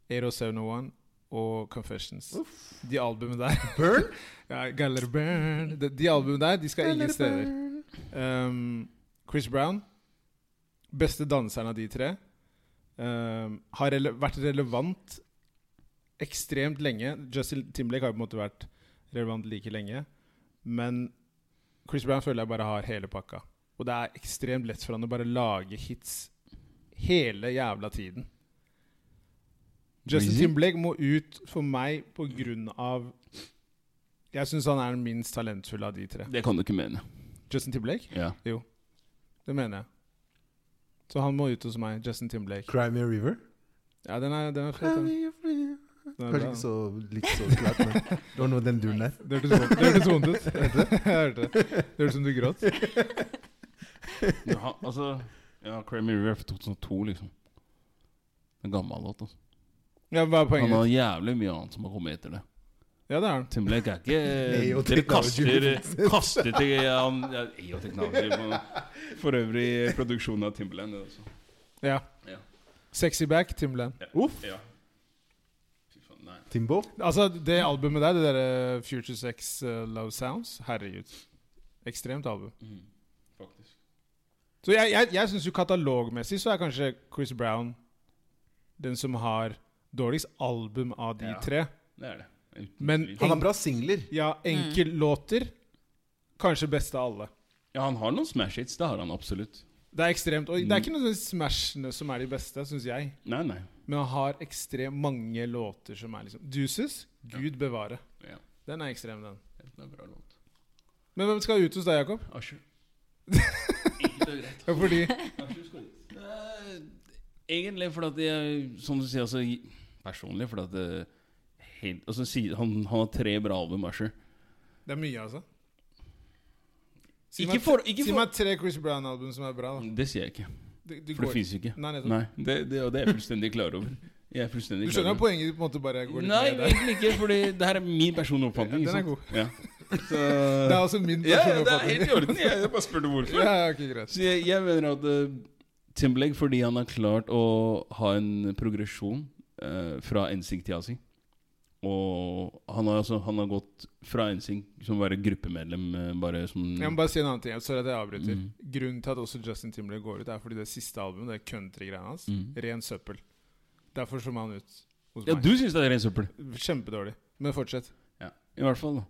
A: 8071 og Confessions. De albumene der Burn? [LAUGHS] ja, Galler Burn. De, de albumene der, de skal ingen steder. Um, Chris Brown, beste danseren av de tre, um, har rele vært relevant ekstremt lenge. Justin Timberlake har på en måte vært relevant like lenge. Men Chris Brown føler jeg bare har hele pakka. Og det er ekstremt lett for han å bare lage hits hele jævla tiden. Justin
B: Really?
A: Timberlake må ut for meg på grunn av Jeg syns han er den minst talentfulle av de tre.
B: Det kan du ikke mene.
A: Justin Timberlake?
B: Ja.
A: Jo. Det mener jeg. Så han må ut hos meg. Justin Timberlake.
C: Cry Me a River.
A: Ja, den er, den er fet.
C: Cry
A: den.
C: me a river.
A: Den er
C: Kanskje
A: bra.
C: ikke så like så klart, men det var noe den duren der.
A: Det hørtes vondt- det hørtes vondt
C: [LAUGHS]
A: ut. Jeg hørte det. Det hørtes ut som du gråt.
B: Ja, altså Ja, Crammy River er fra 2002, liksom. En gammel låt. Altså.
A: Ja, hva er
B: Han
A: poenget?
B: har jævlig mye annet som har kommet etter det.
A: Ja, det er han.
B: Timberlake [LAUGHS] er
C: Nei,
B: ikke
C: og
B: Dere
C: Technology
B: kaster
C: Business.
B: Kaster til han ja, Nei, og Technology men For øvrig produksjonen av Timberland. det også.
A: Ja.
B: Ja.
A: Sexy Back, Timberland.
B: Ja.
C: Uff.
B: Ja. Fy faen, nei.
C: Timbo.
A: Altså, det albumet der, det derre Future Sex uh, Love Sounds, herregud. Ekstremt album.
B: Mm, faktisk.
A: Så jeg, jeg, jeg syns jo katalogmessig så er kanskje Chris Brown den som har dårligst album av de
B: Ja.
A: tre.
B: Det er det. Uten
A: Men-
B: tvil.
C: Han har bra singler.
A: Ja, enkellåter. Kanskje beste av alle.
B: ja, han har noen smash hits. Det har han absolutt.
A: Det er ekstremt. Og det
B: Mm.
A: er ikke nødvendigvis smashene som er de beste, syns jeg.
B: Nei, nei.
A: Men han har ekstremt mange låter som er liksom Deuces, Gud bevare.
B: Ja,
A: Den er ekstrem, den.
B: det er en bra låt.
A: Men hvem skal ut hos deg, Jakob?
B: [LAUGHS] Asher. Enkelt og greit.
A: Ja, fordi
B: Eh, Egentlig fordi at jeg, som du sier, altså i- personlig fordi at eh, helt, altså, si- han, han har tre bra album, Asher.
A: Det er mye, altså. Si
B: Ikke
A: meg,
B: for, ikke
A: si
B: for
A: meg tre Chris Brown-album som er bra, da.
B: Det sier jeg ikke,
A: Du, du,
B: for det
A: Ah. går-
B: fins ikke.
A: Nei, nettopp.
B: Nei, det, det, og det er jeg fullstendig klar over. Jeg er
A: Du
B: fullstendig
A: skjønner
B: klar
A: at
B: over
A: poenget på en måte bare går litt
B: Nei,
A: ned der?
B: egentlig ikke, Fordi det her er min personlige oppfatning.
A: Ja, den er
B: ikke sant? Ja. Så,
A: [LAUGHS] Det er også min
B: ja, ja,
A: personlige
B: det er helt
A: oppfatning.
B: i orden. Jeg, jeg bare spurte hvorfor.
A: [LAUGHS] Ja, ja, ok, greit.
B: Så jeg, jeg mener at eh, Timberlake, fordi han har klart å ha en progresjon eh, fra NSYNC til ASI Og han har, altså, han har gått fra NSYNC som bare gruppemedlem eh, Bare som
A: Jeg må bare si en annen ting. Sorry at jeg avbryter.
B: Mm.
A: Grunnen til at også Justin Timberlake går ut, er fordi det siste albumet, det country-greiene hans,
B: Mm.
A: ren søppel. Derfor så må han ut hos
B: Ja,
A: meg.
B: du syns det er ren søppel!
A: Kjempedårlig. Men fortsett.
B: Ja. I hvert fall. da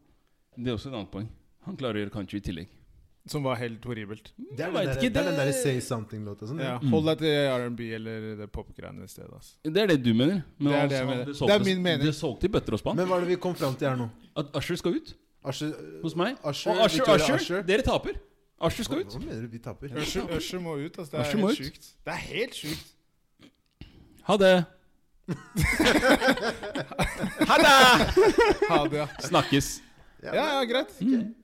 B: Det er også et annet poeng. Han klarer å gjøre country i tillegg.
A: Som var helt horribelt.
C: Det er
B: Jeg
C: den
B: vet
C: der-
B: ikke,
C: det er den
B: det-
C: derre Say Something-låta. Sånn,
A: Ja,
C: ja.
B: Mm.
A: hold deg til R&B eller det pop-greiene i stedet. Altså.
B: Det er det du mener. Men
A: Det er
B: han-
A: det jeg
B: han-
A: mener.
B: solgte-
A: Det er min mening.
B: Det solgte i bøtter og spann.
C: Men hva er det vi kom fram til her nå?
B: At Usher skal ut
C: Asher
B: hos meg.
C: Usher,
B: og Usher,
C: Victoria
B: Usher,
C: Usher.
B: Dere taper! Usher skal ut.
C: Hva mener du? Vi taper.
A: Usher, Usher må ut. Altså, det
B: Usher
A: er
B: må
A: helt
B: ut.
A: sjukt. Det er helt sjukt.
B: Ha det!
A: Ha det, ja.
B: Snakkes.
C: Ja,
A: Ja, ja, greit.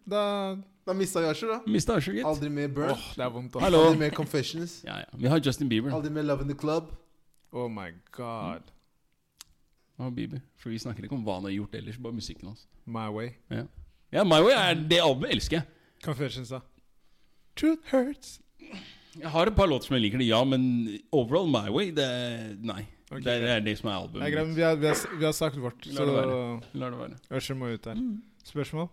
A: Da
C: Da mista vi Asher, da.
B: Mista Usher, gitt.
C: Aldri mer Burn.
A: Åh, det er vondt. ass.
B: Hallo.
C: Aldri mer Confessions.
B: Ja, ja. Vi har Justin Bieber. da.
C: Aldri mer Love in the Club.
A: Oh my god.
B: Ja, Bieber. For vi snakker ikke om hva han har gjort ellers, bare musikken hans.
A: My way.
B: Ja, ja My Way er det albumet elsker jeg.
A: Confessions, da. Truth hurts.
B: Jeg har et par låter som jeg liker, det, ja, men overall My Way, det er Nei.
A: Ok.
B: Det, er, det er det som er albumet.
A: Nei, greit, men vi har, vi, har, s- vi har sagt vårt,
B: La det
A: så
B: mitt. La det være.
A: Usher må ut der.
B: Mm.
A: Spørsmål?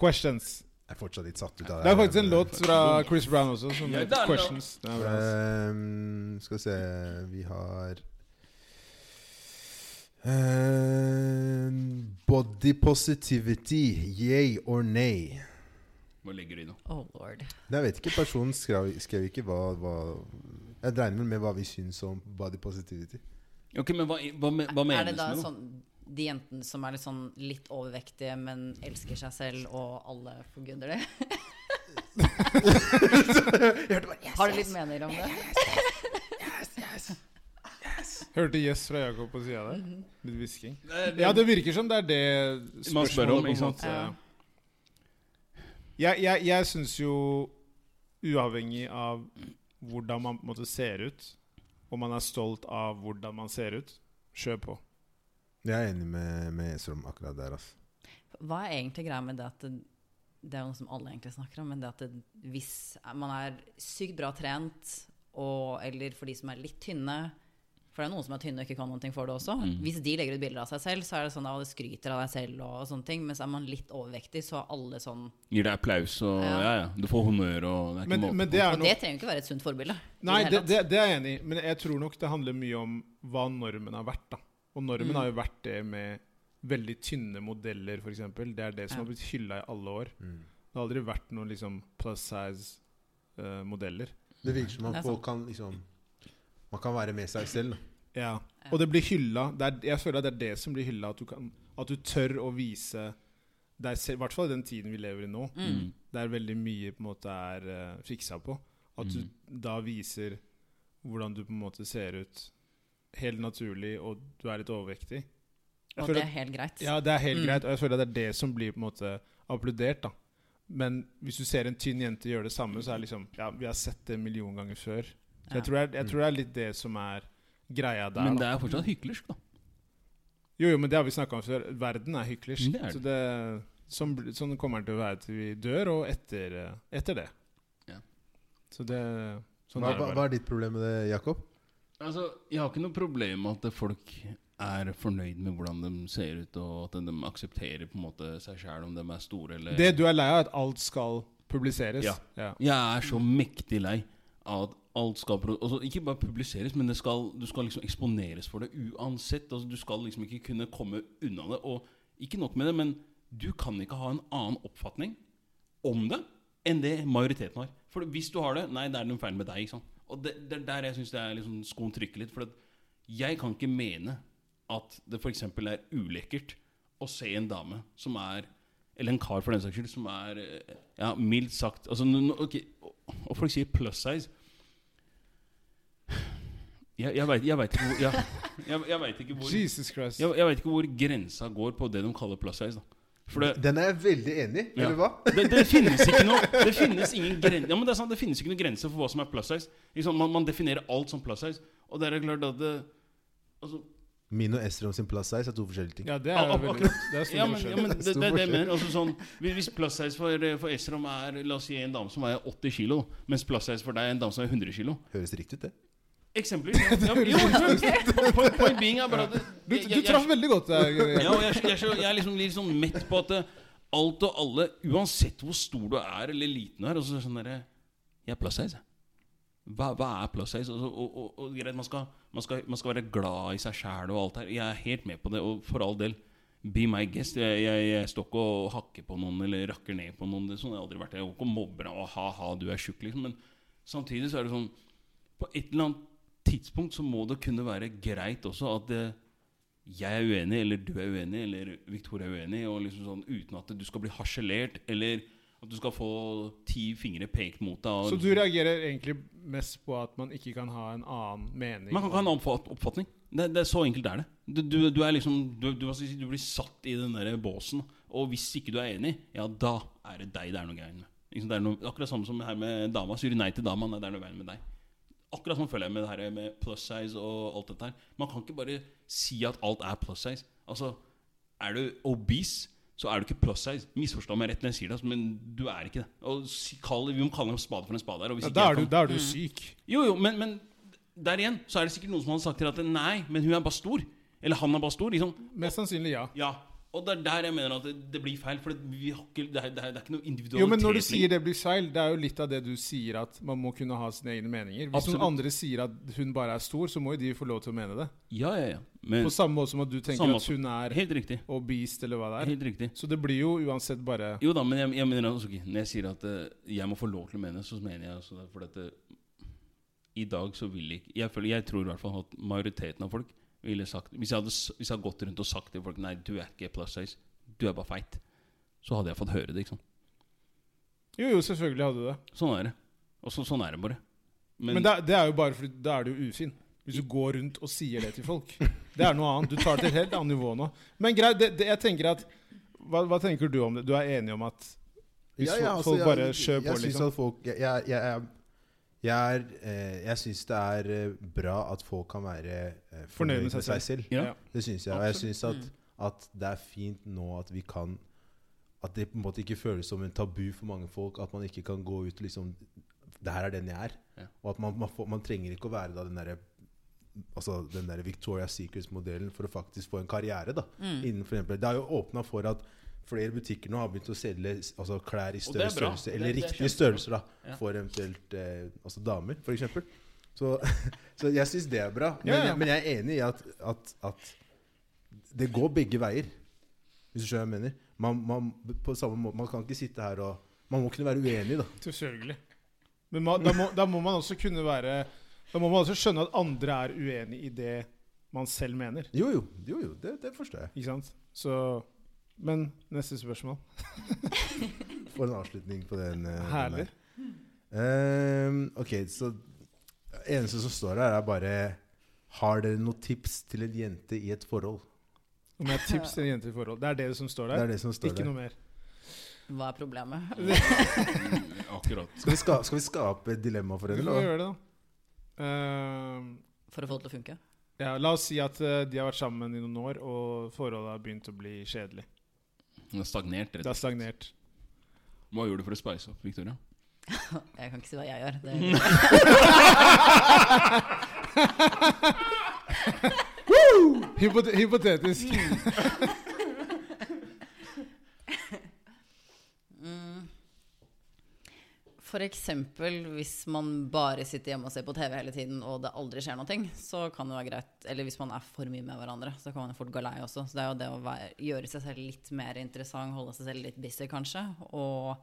A: Questions.
C: Jeg er fortsatt litt satt ut av
A: Det er faktisk en låt fra Chris Brown også som
B: Ja, det
A: heter
B: er det.
A: Questions. Det er bra, ass.
C: Ehm, skal vi se Vi har ehm, Body positivity, yay or nay?
B: Hva legger du i nå?
D: Oh lord.
C: Jeg vet ikke, personen skrev, skrev ikke hva, hva Jeg regner vel med hva vi syns om body positivity.
B: Ok, men hva, hva, me- hva
D: er
B: menes
D: det da
B: med det?
D: sånn de jentene som er litt sånn litt overvektige, men elsker seg selv, og alle forguder det? [LAUGHS] Har du litt meninger om det?
B: Eh.
A: Hørte yes fra Jakob på sida der.
B: Mhm.
A: Litt hvisking.
B: Det er-
A: Ja, det virker som det er det
B: Man spør om,
A: på en
B: ikke sant?
A: måte. Jeg, jeg, jeg syns jo, uavhengig av hvordan man på en måte ser ut, og man er stolt av hvordan man ser ut, kjør på.
C: Jeg er enig med, med Esrom akkurat der. Altså.
D: Hva er egentlig greia med det at det, det er jo noe som alle egentlig snakker om, men det at det, hvis man er sykt bra trent, og, eller for de som er litt tynne, For det er noen som er tynne og ikke kan noen ting for det også.
B: Mm.
D: Hvis de legger ut bilder av seg selv, så er det sånn at de skryter av deg selv og, og sånne ting. Mens er man litt overvektig, så er alle sånn
B: Gir deg applaus og ja.
D: Ja.
B: ja, Du får honnør og det er ikke
A: Men,
B: måte
A: men
B: på.
A: det er
D: Og det
A: nok
D: trenger jo ikke være et sunt forbilde. i
A: Nei,
D: hele
A: det,
D: tatt.
A: det, det er jeg enig i. Men jeg tror nok det handler mye om hva normen har vært. da. Og
D: Mm.
A: normen har jo vært det med veldig tynne modeller, f.eks. Det er det som
D: Ja.
A: har blitt hylla i alle år. Det har aldri vært noen liksom plus eh, size-modeller.
C: Det virker som
D: Det
C: man
D: er
C: folk kan liksom Man kan være med seg selv. da.
A: ja. Og det blir hylla. Det er, jeg føler at det er det som blir hylla, at du, kan, at du tør å vise deg selv, i hvert fall i den tiden vi lever i nå,
B: Mm.
D: Mm.
A: der veldig mye på en måte er eh, fiksa på. At du da viser hvordan du på en måte ser ut helt naturlig, og du er litt overvektig. Jeg
D: Og
A: føler
D: det er
A: at,
D: helt greit.
A: ja, det er helt greit, og jeg føler at det er det som blir på en måte applaudert. da. Men hvis du ser en tynn jente gjøre det samme, så er det liksom Ja, vi har sett det en million ganger før. Så
D: Ja.
A: jeg, tror det er, jeg tror det er litt det som er greia der.
B: Men
A: da.
B: det er fortsatt hyklersk, da.
A: Jo, jo, men det har vi snakka om før. Verden er hyklersk.
B: Det er det.
A: Så det, sånn, bl- sånn kommer den til å være til vi dør, og etter, eh, etter det.
B: Ja.
A: Så det Sånn
C: Hva,
A: er det
C: hva, hva
A: bare.
C: er ditt problem med det, Jakob?
B: Altså, Jeg har ikke noe problem med at folk er fornøyd med hvordan de ser ut, og at de aksepterer på en måte seg sjæl om de er store eller
A: Det du er lei av, er at alt skal publiseres.
B: Ja. Jeg er så mektig lei av at alt skal pro- altså, Ikke bare publiseres, men det skal, du skal liksom eksponeres for det uansett. Altså, du skal liksom ikke kunne komme unna det. Og ikke nok med det, men du kan ikke ha en annen oppfatning om det enn det majoriteten har. For hvis du har det, nei, det er noe feil med deg. Ikke sant? Og det, det er der jeg syns liksom skoen trykker litt. For at jeg kan ikke mene at det f.eks. er ulekkert å se en dame som er Eller en kar, for den saks skyld, som er eh, Ja, mildt sagt altså, nå- nå- ok, og- Og folk sier plus size. Jeg, jeg veit jeg vet ikke hvor Jeg, jeg, jeg vet ikke hvor jeg,
A: Jesus Christ.
B: jeg vet ikke hvor grensa går på det de kaller plus size. Da. For det,
C: Den er jeg veldig enig i,
B: Ja.
C: eller hva?
B: det, det finnes ikke noe Det finnes ingen gren, ja, men det, er sant, det finnes ikke noen grense for hva som er plus size. Ikke sant, man, man definerer alt som plus size. Og det er det klart at det, altså,
C: Min og Estrom sin plass size er to forskjellige ting.
A: Ja, det
B: Ak-
A: er
B: ak-
A: veldig Det er stor
B: ja, men, ja,
A: forskjell.
B: men det, det, er det jeg
C: forskjell.
B: mener. Altså, sånn, hvis- hvis plus size for, for Esrom er La oss si en dame som er 80 kilo, da, mens plus size for deg er en dame som er 100 kilo.
C: Høres riktig ut, det.
B: Eksempler. Ja, men- jo, men- po- Point being er bare at det-
A: Du,
B: jeg-
A: du
B: jeg- jeg-
A: traff veldig godt der.
B: [LAUGHS] ja, og jeg, jeg, er så- jeg er liksom litt sånn mett på at eh, alt og alle, uansett hvor stor du er eller liten du er, altså sånn derre Jeg er plus size, jeg. Hva, hva er plus size? Altså, og, og, og greit, man skal, man, skal, man skal være glad i seg sjæl og alt her. Jeg er helt med på det, og for all del. Be my guest. Jeg, jeg, jeg står ikke og hakker på noen eller rakker ned på noen. Det, sånn har jeg aldri vært. Jeg går ikke og mobber og ha-ha, du er tjukk, liksom. Men samtidig så er det sånn På et eller annet tidspunkt så må det kunne være greit også at det, jeg er uenig, eller du er uenig, eller Victoria er uenig, og liksom sånn uten at du skal bli harselert, eller at du skal få ti fingre pekt mot deg. Og
A: Så du reagerer egentlig mest på at man ikke kan ha en annen mening?
B: Man kan ikke ha en oppfat oppfatning. Det, det er Så enkelt er det. Du, du, du er liksom du, du, hva skal jeg si, du blir satt i den der båsen, og hvis ikke du er enig, ja, da er det deg det er noe gærent med. Ikke sant? det er noe, akkurat samme som her med dama. Sier du nei til dama, nei, det er noe gærent med deg. Akkurat sånn føler jeg med det her med plus size og alt dette her. Man kan ikke bare si at alt er plus size. Altså, er du obese, så er du ikke plus size. Misforstå meg rett når jeg sier det, altså, men du er ikke det. Og si, kall, vi må kalle en spade for en spade her. Og hvis
A: ja,
B: ikke
A: da, er
B: jeg
A: du,
B: kan-
A: da er du syk.
B: jo, jo, men, men der igjen så er det sikkert noen som hadde sagt til deg at nei, men hun er bare stor. Eller han er bare stor. liksom
A: Mest sannsynlig ja.
B: Ja, Og det er der jeg mener at det, det blir feil. For vi har ikke, det, er, det, er, det er ikke noe individualitet.
A: Jo, men når du
B: lenger.
A: sier det blir feil, det er jo litt av det du sier at man må kunne ha sine egne meninger. Hvis
B: Absolutt.
A: noen andre sier at hun bare er stor, så må jo de få lov til å mene det.
B: Ja, ja, ja. Men,
A: På samme måte som at du tenker
B: Samme
A: at hun er
B: helt riktig.
A: obese, eller hva det er.
B: Helt riktig.
A: Så det blir jo uansett bare
B: Jo da, men jeg, jeg mener altså, ikke- Når jeg sier at eh, jeg må få lov til å mene, så mener jeg også det. For at, eh, i dag så vil ikke jeg, føler, jeg tror i hvert fall at majoriteten av folk ville sagt Hvis jeg hadde, s- hvis jeg hadde gått rundt og sagt til folk Nei, du er ikke plus size, du er bare feit, så hadde jeg fått høre det. ikke sant
A: Jo, jo, selvfølgelig hadde du det.
B: Sånn er det. Og så, sånn er det bare.
A: Men, det, er- det er jo bare fordi da er du jo ufin. Hvis du går rundt og sier det til folk. Det er noe annet. Du tar det til et helt annet nivå nå. Men greit, det, det, jeg tenker at hva, hva tenker du om det? Du er enig om at hvis
C: Ja, ja,
A: folk-
C: altså,
A: folk
C: jeg-
A: bare kjører på,
C: Jeg syns
A: liksom?
C: at folk Jeg, jeg, jeg, jeg, jeg, er, eh, jeg syns det er eh, bra at folk kan være eh, fornøyd med seg selv.
B: ja.
A: Ja.
C: Det syns jeg. Og jeg syns at,
B: Mm.
C: at det er fint nå at vi kan At det på en måte ikke føles som en tabu for mange folk. At man ikke kan gå ut liksom Det her er den jeg er.
B: Ja.
C: Og at man, man, får, man trenger ikke å være da den derre altså den der Victoria Secrets-modellen for å faktisk få en karriere. da,
B: Mm.
C: innenfor eksempel. Det har jo åpna for at flere butikker nå har begynt å selge altså, klær i
B: Og det
C: større
B: er bra.
C: størrelse,
B: Det-
C: eller
B: det er
C: riktige
B: kjempebra.
C: størrelser, da,
B: Ja.
C: for eventuelt eh, altså damer, f.eks. Så, [LAUGHS] så jeg syns det er bra. Men,
A: Ja, ja.
C: Jeg, men jeg er enig i at, at, at det går begge veier, hvis du skjønner hva jeg mener. Man, man, på samme måte, man kan ikke sitte her og Man må kunne være uenig, da.
A: Selvfølgelig. Men ma, da, må, da må man også kunne være Da må man også skjønne at andre er uenig i det man selv mener.
C: Jo, jo. jo, jo det, det forstår jeg.
A: Ikke sant? Så Men neste spørsmål.
C: For en avslutning på den. eh,
A: Herlig.
C: den der. Ehm, ok, så eneste som står her, er bare Har dere noen tips til en jente i et forhold?
A: Om jeg har tips til en jente i forhold. Det er det som står
C: Det
A: der.
C: er det som står
A: Ikke
C: der.
A: noe mer.
D: Hva er problemet?
A: [LAUGHS]
B: Mm, Akkurat.
C: Skal vi, ska, skal vi skape et dilemma for
A: Vi
C: henne?
A: må
C: da?
A: gjøre det, da. Ehm,
D: For å få det til å funke? [LAUGHS]
A: ja, la oss si at eh, de har vært sammen i noen år, og forholdet har begynt å bli kjedelig.
B: Den er stagnert,
A: Det
B: rett.
A: har stagnert.
B: Hva gjør du for å spice opp, Victoria?
D: Jeg kan ikke si hva jeg gjør. Det
A: [LAUGHS] Hypote hypotetisk.
D: Mm. For eksempel hvis man bare sitter hjemme og ser på TV hele tiden, og det aldri skjer noe, så kan det være greit. Eller hvis man er for mye med hverandre, så kan man fort gå lei også. Så det er jo det å være, gjøre seg selv litt mer interessant, holde seg selv litt busy, kanskje. Og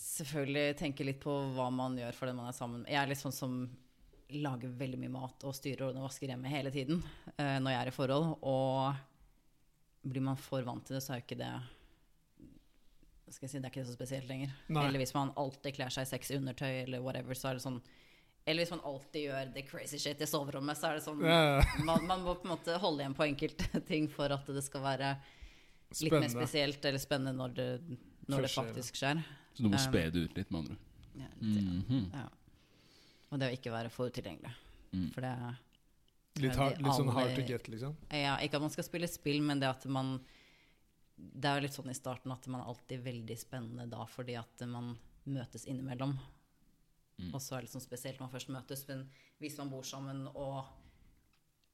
D: selvfølgelig tenke litt på hva man gjør for den man er sammen med. Jeg er litt sånn som lager veldig mye mat og styrer og vasker hjemme hele tiden eh, når jeg er i forhold. Og blir man for vant til det, så er jo ikke det hva skal jeg si, det er ikke så spesielt lenger.
A: Nei.
D: Eller hvis man alltid kler seg i sexy undertøy eller whatever, så er det sånn Eller hvis man alltid gjør the crazy shit i soverommet, så er det sånn
A: Ja,
D: man, man må på en måte holde igjen på enkelte [LAUGHS] ting for at det skal være litt mer
A: Spennende.
D: spesielt eller spennende når det, når det
A: Først skjer det.
D: faktisk skjer.
B: Så du må
D: Um,
B: spe det ut litt, med andre ord.
D: Ja, litt,
B: Mhm.
D: ja. Og det å ikke være for utilgjengelig.
B: Mm.
D: For det
A: Litt, hard, litt sånn hard to
D: Alle-
A: get, liksom.
D: ja, Ikke at man skal spille spill, men det at man Det er jo litt sånn i starten at man er alltid veldig spennende da fordi at man møtes innimellom.
B: Mm.
D: Og så er det litt sånn spesielt når man først møtes, men hvis man bor sammen og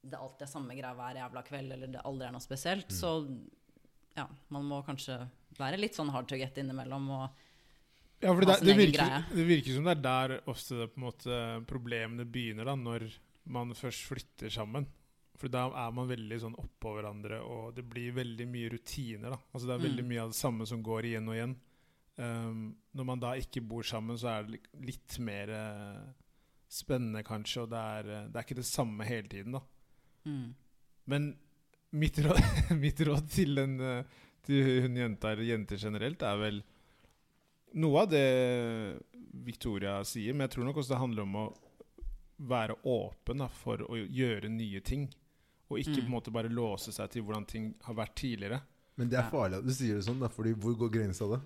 D: det alltid er samme greia hver jævla kveld, eller det aldri er noe
A: Mm.
D: spesielt, så ja, man må kanskje være litt sånn hard to get innimellom og
A: Ja, for
D: Ha
A: det,
D: sin
A: det,
D: egen
A: virker,
D: greie.
A: det virker som det er der ofte det, på en måte, problemene begynner, da, når man først flytter sammen. For da er man veldig sånn oppå hverandre, og det blir veldig mye rutiner. da. Altså Det er veldig
D: Mm.
A: mye av det samme som går igjen og igjen. Um, når man da ikke bor sammen, så er det lik- litt mer eh, spennende, kanskje, og det er, eh, det er ikke det samme hele tiden, da.
D: mm.
A: Men mitt råd, [LAUGHS] mitt råd til, en, eh, til hun jenta, eller jenter generelt, er vel noe av det Victoria sier, men jeg tror nok også det handler om å være åpen da, for å gjøre nye ting. Og ikke
D: Mm.
A: på en måte bare låse seg til hvordan ting har vært
C: [LAUGHS]
A: tidligere.
C: Men det er farlig at du sier det sånn, da, Fordi hvor går grensa da?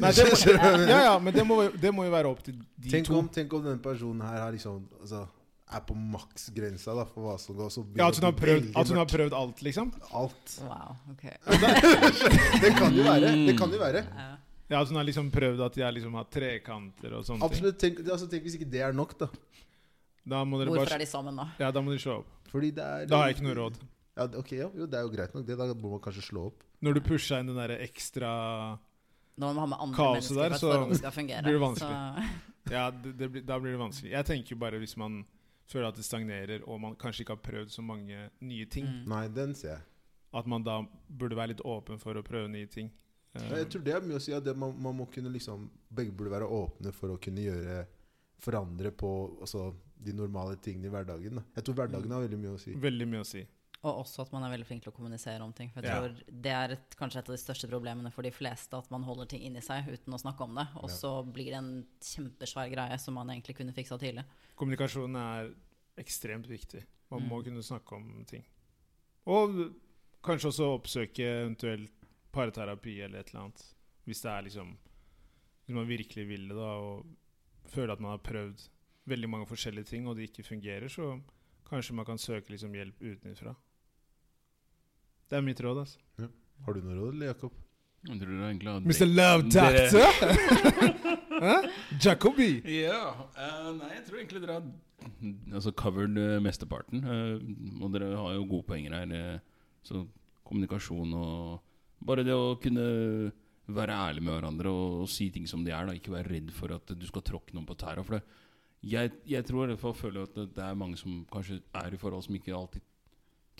A: Nei, det må, [LAUGHS] ja, ja, men det må, jo- det må jo være opp til de
C: Tenk
A: to.
C: om, tenk om denne personen her har liksom, altså, er på maksgrensa da, for hva som går. Så
A: Ja, at hun, har prøvd,
C: veldig
A: at hun har
C: mørkt.
A: prøvd alt, liksom.
C: alt. [LAUGHS]
D: Wow, ok. Eh,
C: Det kan jo være. Det kan jo være.
D: Ja.
A: Ja, At hun har liksom prøvd at jeg liksom har trekanter og sånne ting.
C: Absolutt. Tenk, altså, tenk hvis ikke det er nok, da.
A: Da må dere
D: Hvorfor
A: bare
D: er de sammen da?
A: Ja, da må dere slå opp.
C: Fordi det er
A: Da har jeg ikke noe råd.
C: Ja, ok, ja, jo, det er jo greit nok. Det, da må man kanskje slå opp.
A: Når du pusha inn den der ekstra
D: Når man har med andre
A: Kaoset
D: mennesker
A: der,
D: for at
A: så
D: forholdet skal fungere.
A: [LAUGHS] blir det
D: Så,
A: Ja, det, det blir, da blir det vanskelig. Jeg tenker jo bare hvis man føler at det stagnerer, og man kanskje ikke har prøvd så mange nye ting,
D: Mm.
C: Nei, den ser jeg.
A: at man da burde være litt åpen for å prøve nye ting. Eh,
C: Ja, jeg tror det er mye å si. At det, man, man må kunne liksom Begge burde være åpne for å kunne gjøre Forandre på altså, de normale tingene i hverdagen. Da. Jeg tror hverdagen har veldig mye å si.
A: Veldig mye å si.
D: Og også at man er veldig flink til å kommunisere om ting. For jeg
A: Ja.
D: tror Det er et, kanskje et av de største problemene for de fleste, at man holder ting inni seg uten å snakke om det. Og
C: Ja.
D: så blir det en kjempesvær greie som man egentlig kunne fiksa tidlig.
A: Kommunikasjon er ekstremt viktig. Man
D: Mm.
A: må kunne snakke om ting. Og kanskje også oppsøke eventuelt parterapi eller et eller annet. Hvis det er liksom Hvis man virkelig vil det, da, og føler at man har prøvd veldig mange forskjellige ting, og det ikke fungerer, så kanskje man kan søke liksom hjelp utenfra. Det er mitt råd, altså.
C: Har du noe råd, eller, Jakob?
B: Jeg tror du er egentlig har
A: Mr. Love Doctor! Hæ? Jacobi!
B: Ja, eh, nei, jeg tror egentlig dere har altså covered eh, mesteparten. eh, og dere har jo gode poenger her. eh, så kommunikasjon og Bare det å kunne være ærlig med hverandre og, og si ting som de er. da Ikke være redd for at du skal tråkke noen på tæra. For det, jeg, jeg tror i hvert fall føler at det er mange som kanskje er i forhold som ikke alltid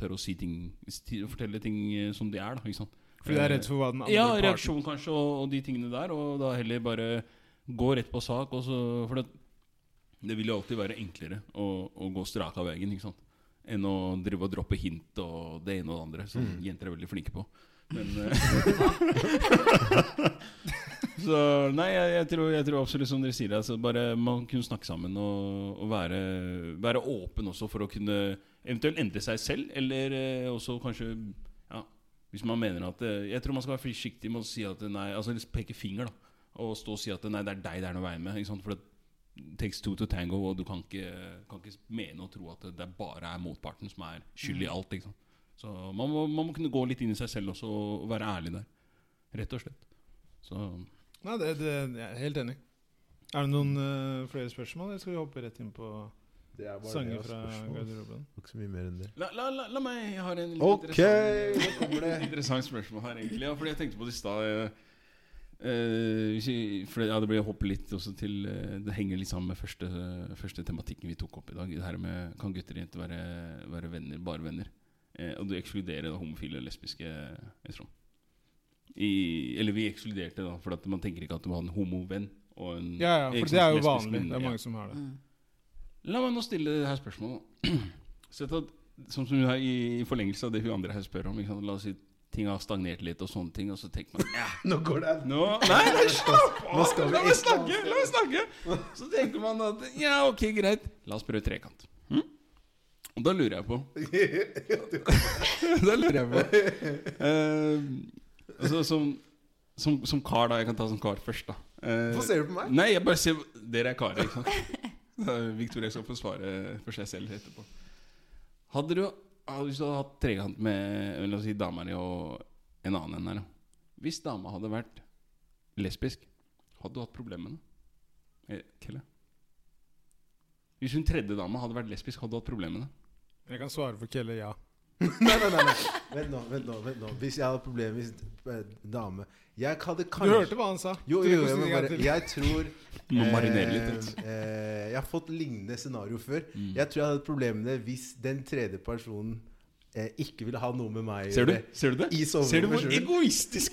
B: tør å si ting si- Fortelle ting eh, som de er. da ikke sant?
A: Fordi du er redd for hva den andre
B: Ja,
A: parten
B: reaksjon kanskje, og, og de tingene der. Og da heller bare gå rett på sak. Og så, for det, det vil jo alltid være enklere å, å gå strak av veien ikke sant? enn å drive og droppe hint og det ene og det andre, som jenter er veldig flinke på. Men eh, [LAUGHS] Så nei, jeg, jeg, tror, jeg tror absolutt som dere sier. Altså, bare man kunne snakke sammen og, og være, være åpen også for å kunne eventuelt endre seg selv, eller eh, også kanskje ja, hvis man mener at eh, Jeg tror man skal være forsiktig med å si at nei, altså liksom peke finger, da. Og stå og si at eh, nei, det er deg det er noe i veien med. Ikke sant? For det takes two to tango, og du kan ikke, kan ikke mene og tro at det bare er motparten som er skyld i alt. Ikke sant? Så man må, man må kunne gå litt inn i seg selv også og være ærlig der. Rett og slett. Så
A: Nei, det, det, jeg er helt enig. Er det noen eh, flere spørsmål, eller skal vi hoppe rett inn på
C: Det er bare
A: sanger
C: det, altså,
A: fra
C: ass, spørsmål.
A: garderoben?
C: Det var Ikke så mye mer enn det.
B: La, la, la, la meg Jeg har en litt
C: Ok,
B: interessant-
C: nå kommer det.
B: litt [LAUGHS] interessant spørsmål her, egentlig. Ja, fordi jeg tenkte på det i stad. eh, eh, hvis jeg- for det- ja, det blir å hoppe litt også til eh, Det henger litt sammen med første, første tematikken vi tok opp i dag. Det her med kan gutter og jenter være, være venner, bare venner? Eh, og du ekskluderer da homofile og lesbiske jeg tror. I, eller vi ekskluderte, da, for at man tenker ikke at du har en homovenn. og en-
A: Ja, ja,
B: ikke
A: for det
B: sant,
A: er jo
B: lesbisk
A: vanlig.
B: venn,
A: Det er
B: ja.
A: mange som
C: [LAUGHS]
A: har det.
D: Mm.
B: La meg nå stille det her spørsmålet. [CLEARS THROAT] Sett at, som, som hun har i, I forlengelse av det hun andre her spør om ikke sant? La oss si ting har stagnert litt, og sånne ting. Og så tenker man ja,
C: Nå går det [LAUGHS]
B: nå, Nei, nei, slapp
C: Nå
B: av!
C: skal vi
B: La meg
C: ikke
B: snakke! La meg snakke! Så tenker man at ja, ok, greit. La oss prøve trekant. Hm? Og da lurer jeg på Da lurer jeg på eh, altså, som, som, som kar, da. Jeg kan ta som kar først, da. Eh,
C: Hvorfor ser du på meg?
B: Nei, jeg bare ser Dere er karer, ikke sant? [LAUGHS] Eh, Victoria skal få svare for seg selv etterpå. Hadde du hadde Hvis du hadde hatt trekant med La oss si dama di og en annen enn her da. Hvis dama hadde vært lesbisk, hadde du hatt problemer med det? Eh, Kelle? Hvis hun tredje dama hadde vært lesbisk, hadde du hatt problemer med det?
A: Jeg kan svare for Kelle, ja.
C: [LAUGHS] Nei, nei, nei, nei. Vent nå, vent nå, vent nå. Hvis jeg hadde problemer hvis eh, dame Jeg hadde
A: Du
C: kanskje
A: hørte hva han sa.
C: Jo,
A: Så du
C: jo, jo,
A: kan
C: jeg,
A: si det en
C: må
A: gang
C: bare,
A: til.
C: jeg tror
B: Du må marinere litt. vet du.
C: eh, eh, Jeg har fått lignende scenario før. Jeg tror jeg hadde problemene hvis den tredje personen eh, ikke ville ha noe med meg å
B: Ser du?
C: gjøre.
B: Ser du det?
C: I soverommet
B: Ser du hvor
C: selv.
B: egoistiske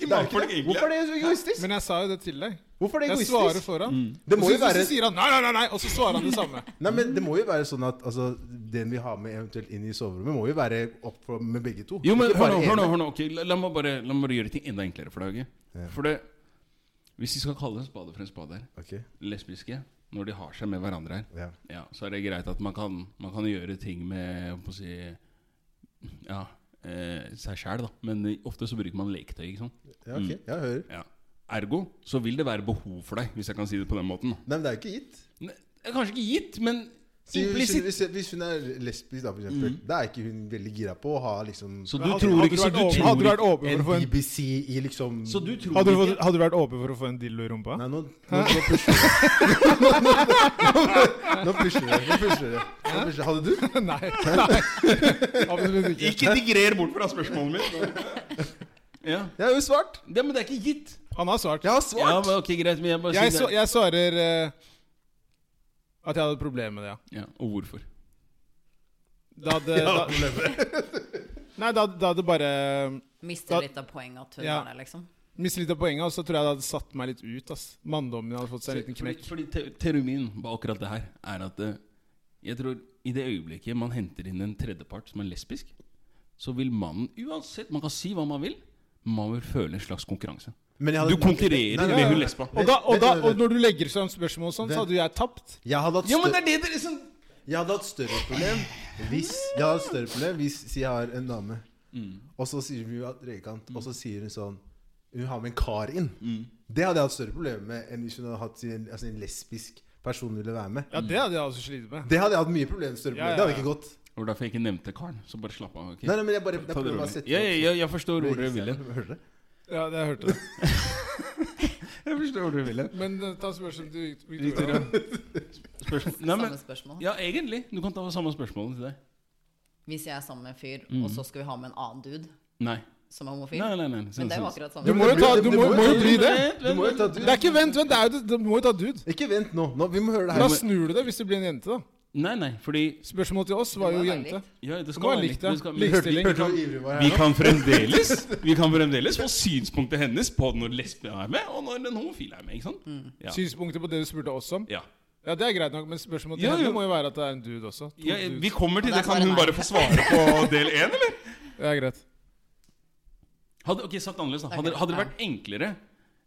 C: Det er ikke
B: mannfolk
C: det.
B: egentlig
C: Hvorfor
B: er?
C: er det så egoistisk?
A: Men jeg sa jo det til deg.
C: Hvorfor er det
A: Jeg svarer
C: egoistisk? Mm.
A: for
B: Mm.
A: han.
C: Det må
A: Og
C: jo
A: så, så,
C: være-
A: så sier han nei, nei, nei, nei, og så svarer han det samme.
C: Nei, men Det må jo være sånn at altså, den vi har med eventuelt inn i soverommet, må jo være opp for, med begge to.
B: Jo, men
C: Ikke
B: hør
C: bare
B: nå, hør nå,
C: ene.
B: hør nå. ok, la, la, meg bare, la meg bare gjøre ting enda enklere for deg. Okay?
C: Ja.
B: For det, hvis vi skal kalle en spade for en spade her
C: Ok,
B: Lesbiske, når de har seg med hverandre her,
C: ja.
B: ja, så er det greit at man kan, man kan gjøre ting med hva skal jeg si, ja, eh, seg sjæl, da. Men ofte så bruker man leketøy. ikke sant?
C: Ja, ok,
B: Mm.
C: jeg hører.
B: Ja. Ergo så vil det være behov for deg, hvis jeg kan si det på den måten. da.
C: Nei, men det er jo ikke gitt.
B: Ne- Det er kanskje ikke gitt, men
C: Si, hvis,
B: implisitt.
C: hvis, hvis hun er lesbisk, da, for eksempel, da er ikke hun veldig gira på å ha liksom
B: Mm. Så du
A: Hadde-
B: tror
A: hadde du
B: ikke så
A: vært
B: du
A: åpen-
B: tror
A: Hadde du vært
B: ikke-
A: åpen
C: en
A: for å få en
C: BBC i liksom
B: Så du tror
A: hadde du,
B: ikke
A: fått- hadde du vært åpen for å få en dildo i rumpa?
C: Nei, nå, nå, nå pusher du. [LAUGHS] Nå pusher du. Nå pusher du. Nå pusher du. Hadde du?
A: [LAUGHS] Nei. nei. Absolutt
C: [LAUGHS]
A: ikke.
B: Ikke digrer bort fra spørsmålet mitt. [LAUGHS] Ja.
C: Jeg har jo svart.
B: Det, men det er ikke gitt.
A: Han har svart.
C: Jeg har svart.
B: Ja, men ok, greit, men jeg bare
A: Jeg,
B: sier
A: så,
B: det.
A: jeg svarer eh, at jeg hadde et problem med det, ja.
B: Ja, og hvorfor?
A: Da hadde, da, nei, da, da hadde bare Da-
D: Mister litt av poenget at hun
A: Ja.
D: har det, liksom.
A: mistet litt av poenget, og så tror jeg det hadde satt meg litt ut. ass. Manndommen min hadde fått seg en liten
B: Fordi,
A: knekk.
B: fordi te teorien min på akkurat det her er at eh, jeg tror i det øyeblikket man henter inn en tredjepart som er lesbisk, så vil mannen uansett Man kan si hva man vil, man vil føle en slags konkurranse.
C: Men jeg
B: Du konkurrerer
C: Nei, nei,
B: med
C: nei,
B: hun
C: nei.
B: lesba.
A: Og, da, og, da,
C: Vent, vent,
A: og når du legger fram spørsmål og sånn, så hadde jo jeg tapt.
C: Jeg hadde hatt
B: Ja, men
C: større-
B: det er det dere liksom
C: Jeg hadde hatt større problem hvis Jeg hadde hatt større problem hvis si jeg har en dame, og så sier hun at rekant, og så sier hun sånn Hun har med en kar inn. Det hadde jeg hatt større problem med enn hvis hun hadde hatt sin, altså en lesbisk person ville være med.
A: Ja, det hadde jeg også slitt med.
C: Det hadde jeg hatt mye problem, større
A: Ja,
C: problem.
A: ja,
C: Det hadde
A: ja.
C: ikke gått.
B: Det var derfor jeg ikke nevnte karen. Så bare slapp av. ok?
C: Nei, nei, men jeg bare, jeg
B: Ta det
C: prøver bare å
B: rolig.
C: sette
B: Ja, ja, ja, jeg forstår hvor dere vil hen.
C: Hører dere?
A: Ja, det jeg hørte det.
B: Jeg forstår hvor dere vil hen.
A: Men eh, ta spørsmålet til Victoria.
B: Victoria, Spørsmål. [LAUGHS] Nei, men,
D: Samme spørsmål.
B: ja, egentlig. Du kan ta samme spørsmål til deg.
D: Hvis jeg er sammen med en fyr, og så skal vi ha med en annen dude
B: Nei.
D: som er homofil
B: Mm. Nei, liksom, sånn- nei, sånn. nei.
D: Men det er jo akkurat
A: Du
D: samme.
A: må jo ta, du
C: Det
A: må,
C: må jo
A: må jo
C: bli-
A: bli det.
C: Du må jo ta
A: Det er
C: dude.
A: ikke Vent, vent, det er jo, du må jo ta dude.
C: Ikke vent nå. nå. Vi må høre det
A: Da
C: her.
A: snur du det hvis det blir en jente, da.
B: Nei, nei, fordi
A: Spørsmålet til oss var jo
D: Det må være
A: jente.
D: likt.
B: ja, det
A: Du må
B: skal
A: ha
B: være
A: likt
B: likt. det
A: det.
B: skal-
A: Likestilling.
C: Hørte du hvor ivrig var
B: Vi
C: jeg nå?
B: kan fremdeles Vi kan fremdeles få synspunktet hennes på når lesben er med, og når den homofile er med. ikke sant? Ja.
A: Synspunkter på det du spurte oss om?
B: Ja.
A: Ja, det er greit nok, men spørsmålet til
B: Ja,
A: henne
B: jo.
A: må jo være at det er en dude også. To
B: Ja,
A: dudes.
B: vi kommer til det.
D: Og der
B: Kan
D: svarer
B: hun
D: nei.
B: bare få svare på del én, eller?
A: Det er greit.
B: [LAUGHS] Hadde, ok, sagt annerledes da Hadde, hadde det vært enklere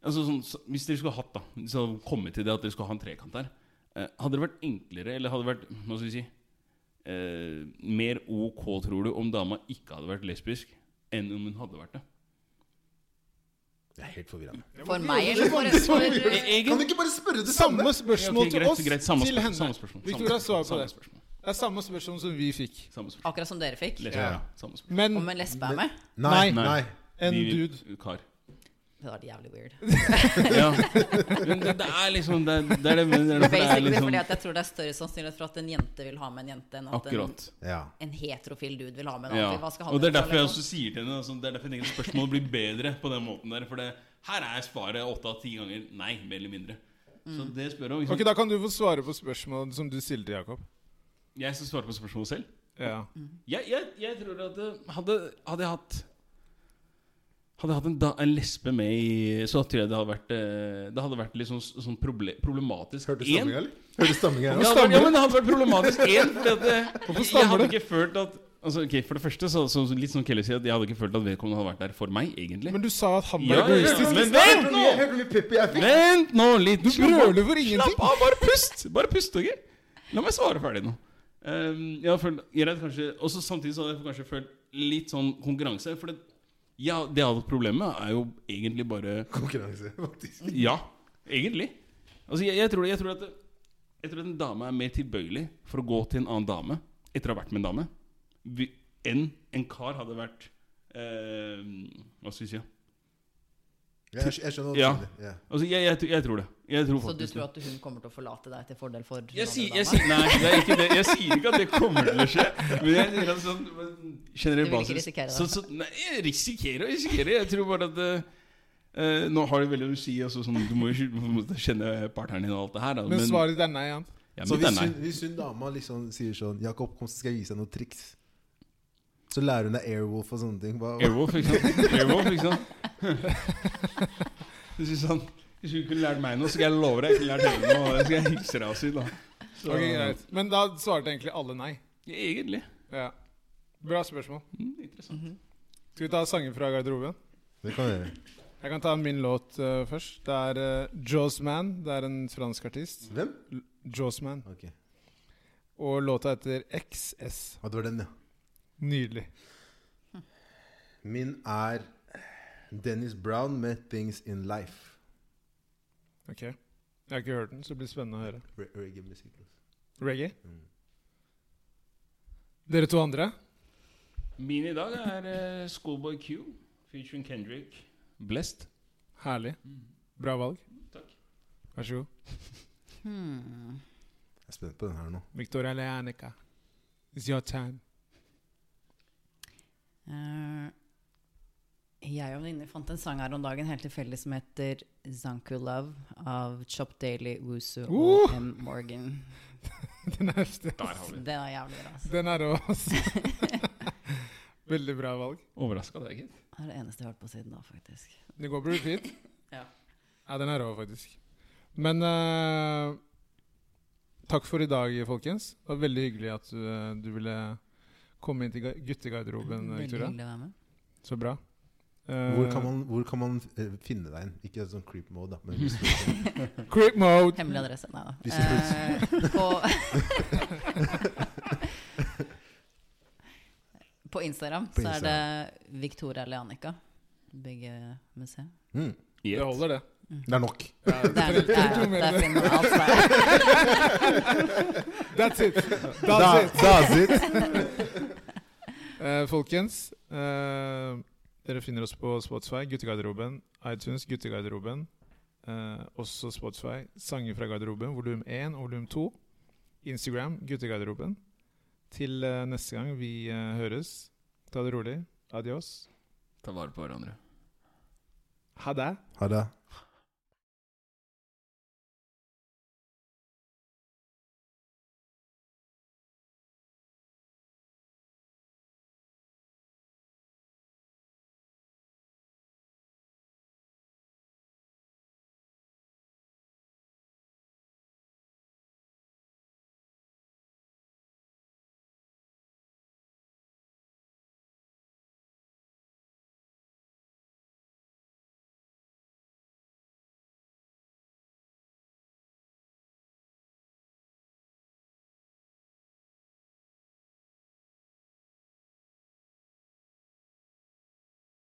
B: altså, sånn, så, Hvis dere skulle hatt da Så komme til det at dere skulle ha en trekant der eh, Hadde det vært enklere Eller hadde det vært Hva skal vi si eh, Mer ok tror du Om dama ikke hadde vært lesbisk Enn om hun hadde vært det
C: Jeg er helt forvirra.
D: For meg
B: [LAUGHS]
D: eller for, for
C: Kan du ikke bare spørre det samme?
A: Samme spørsmål
B: Ok,
A: til
B: greit,
A: oss,
B: greit, samme
A: til
B: spørsmål,
A: henne.
B: Samme spørsmål
A: Victoria
B: samme
A: svarer på det.
B: spørsmål,
A: Det er samme spørsmål som vi fikk.
B: Samme spørsmål
D: Akkurat som dere fikk.
B: Les-
C: Ja.
B: ja, samme spørsmål
A: Men
D: Om en lesbe er med.
C: Nei.
A: Nei.
C: Nei.
A: en
B: Vi-
A: dude
B: [LAUGHS] Kar
D: Det hadde vært jævlig weird.
B: [LAUGHS] ja. Men det, det er liksom Det, er- det er det men det er derfor det er
D: Basically
B: litt sånn
D: fordi at jeg tror det er større sannsynlighet for at en jente vil ha med en jente, enn at en,
B: Akkurat
C: Ja.
D: en heterofil dude vil ha med en
B: Ja.
D: annen. Hva skal han
B: Og det er
D: gjøre,
B: derfor jeg
D: liksom?
B: også sier til henne altså, Det er derfor jeg tenker at spørsmålet blir bedre på den måten der. For det, her er svaret åtte av ti ganger nei, mer eller mindre. Så
D: Mm.
B: det spør liksom. hun. ikke
A: Ok,
B: sant?
A: Da kan du få svare på spørsmålet som du stilte, Jakob.
B: Jeg skal svare på spørsmålet selv.
A: Ja.
B: Jeg, jeg, jeg tror at eh, hadde, hadde jeg hatt hadde jeg hatt en, da, en lesbe med i Så tror jeg det hadde vært eh, Det hadde vært litt sånn, sånn proble problematisk.
C: Hørte
B: En-
C: stamminga, eller? Hørte stamminga?
B: Ja, det hadde vært- ja, men det hadde vært problematisk én.
A: stammer
B: Hvorfor eh, Jeg hadde
A: du?
B: ikke følt at altså, ok, For det første, så, så litt som Kelly sier, at jeg hadde ikke følt at vedkommende hadde vært der for meg, egentlig.
A: Men du sa at han
B: Ja,
A: var
B: ja, ja.
A: egoistisk.
B: Men vent nå!
C: Hørte du hvor mye pepper jeg fikk?
B: Vent nå litt.
A: Du
B: Slapp av.
A: brøler for ingenting.
B: Slapp av, bare pust! Bare pust, ok? La meg svare ferdig nå. Ehm, jeg har følt jeg hadde kanskje, også Samtidig så hadde jeg kanskje følt litt sånn konkurranse. For det, ja, det jeg hadde problemet med, er jo egentlig bare
C: Konkurranse, faktisk.
B: Ja, egentlig. Altså, jeg, jeg, tror, jeg, tror at, jeg tror at en dame er mer tilbøyelig for å gå til en annen dame etter å ha vært med en dame, vi- enn en kar hadde vært ehm, Hva skal vi si? ja?
C: Ja, Jeg, jeg skjønner hva du
B: Ja.
C: mener. Ja.
B: Altså, jeg, jeg, jeg tror det. Jeg tror
D: Så du
B: faktisk det.
D: tror at hun kommer til å forlate deg til fordel for den
B: Jeg
D: andre
B: sier,
D: dama?
B: jeg sier, nei, det er ikke det. jeg sier ikke at det kommer til å skje. Men jeg sier at sånn men
D: Du vil
B: generell
D: ikke
B: basis
D: risikere det?
B: så, så, Nei, jeg risikerer og risikerer. Jeg tror bare at eh, Nå har det veldig å si. Altså, sånn, du må jo ikke- på en måte kjenne partneren din og alt det her. Da,
A: Men svaret ditt er nei, han.
B: ja,
C: Så
B: mitt er
C: hvis
B: nei.
C: hun, hvis hun dama liksom sier sånn 'Jakob, kom, så skal jeg vise deg noen triks', så lærer hun deg airwolf og sånne ting. Hva, hva?
B: Airwolf, ikke sant? Airwolf, ikke sant?
A: [LAUGHS]
B: Hvis du sånn Hvis hun kunne lært meg noe, så skal jeg love deg jeg kunne lært henne noe. og Det skal jeg hilse deg og si, da. Så,
A: Ok, greit. Men da svarte egentlig alle nei.
B: Egentlig.
A: Ja. Bra spørsmål.
B: Mm, interessant.
D: Mhm.
A: Skal vi ta sanger fra garderoben?
C: Det kan du gjøre.
A: Jeg kan ta min låt eh, først. Det er uh, Jazzman. Det er en fransk artist.
C: Hvem?
A: Jazzman.
C: Ok.
A: Og låta heter XS.
C: Ja, det var den, ja.
A: Nydelig.
C: Min er Dennis Brown med 'Things In Life'.
A: Ok. Jeg har ikke hørt den, så det blir spennende å høre.
C: Re- Reggae-musikk.
A: Reggae?
C: Mm.
A: Dere to andre?
B: Min i dag er eh, Schoolboy Q featuring Kendrick. Mm. Blessed.
A: Herlig. Bra valg.
B: Takk.
A: Vær så god.
D: Hmm.
C: Jeg er spent på den her nå.
A: Victoria Leanica. It's your time. [LAUGHS]
D: Eh, jeg og venninner fant en sang her om dagen helt tilfeldig som heter Zanku Love av Chop Daily, Wusu og
A: Uh!
D: M. Morgan.
A: Den er heftig.
B: Der har vi det.
D: Den er jævlig bra. Altså.
A: Den er rå, altså. [LAUGHS] Veldig bra valg.
B: Overraska deg, gitt.
D: Det er det eneste jeg har hørt på siden da, faktisk.
A: Det går på repeat.
D: [LAUGHS] Ja.
A: Ja, den er rå, faktisk. Men eh, takk for i dag, folkens. Det var veldig hyggelig at du, eh, du ville komme inn til ga- guttegarderoben,
D: Veldig
A: eh, Victoria.
D: hyggelig å være med.
A: Så bra. Eh,
C: Hvor kan man, hvor kan man eh, finne deg inn? Ikke sånn creep mode, da. Men hvis du,
D: [LAUGHS]
A: Eh, Creep mode!
D: Hemmelig adresse? Nei da.
C: Hvis det
D: Eh, på på Instagram
C: På
D: så er det Victoria Leanica. Begge med C.
C: mm,
A: Det
B: Gjett.
A: holder, det.
C: det er nok.
A: Ja,
D: Der, der,
A: to mer.
D: der finner man alt der.
A: That's it. That's
C: Da-
A: it.
C: That's it.
A: Eh, folkens, eh, dere finner oss på Spotify, Guttegarderoben, iTunes, Guttegarderoben, eh, også Spotify, Sanger fra garderoben, volum 1 og volum 2. Instagram, guttegarderoben. Til eh, neste gang vi eh, høres, ta det rolig. Adios.
B: Ta vare på hverandre.
A: Ha det.
C: Ha det.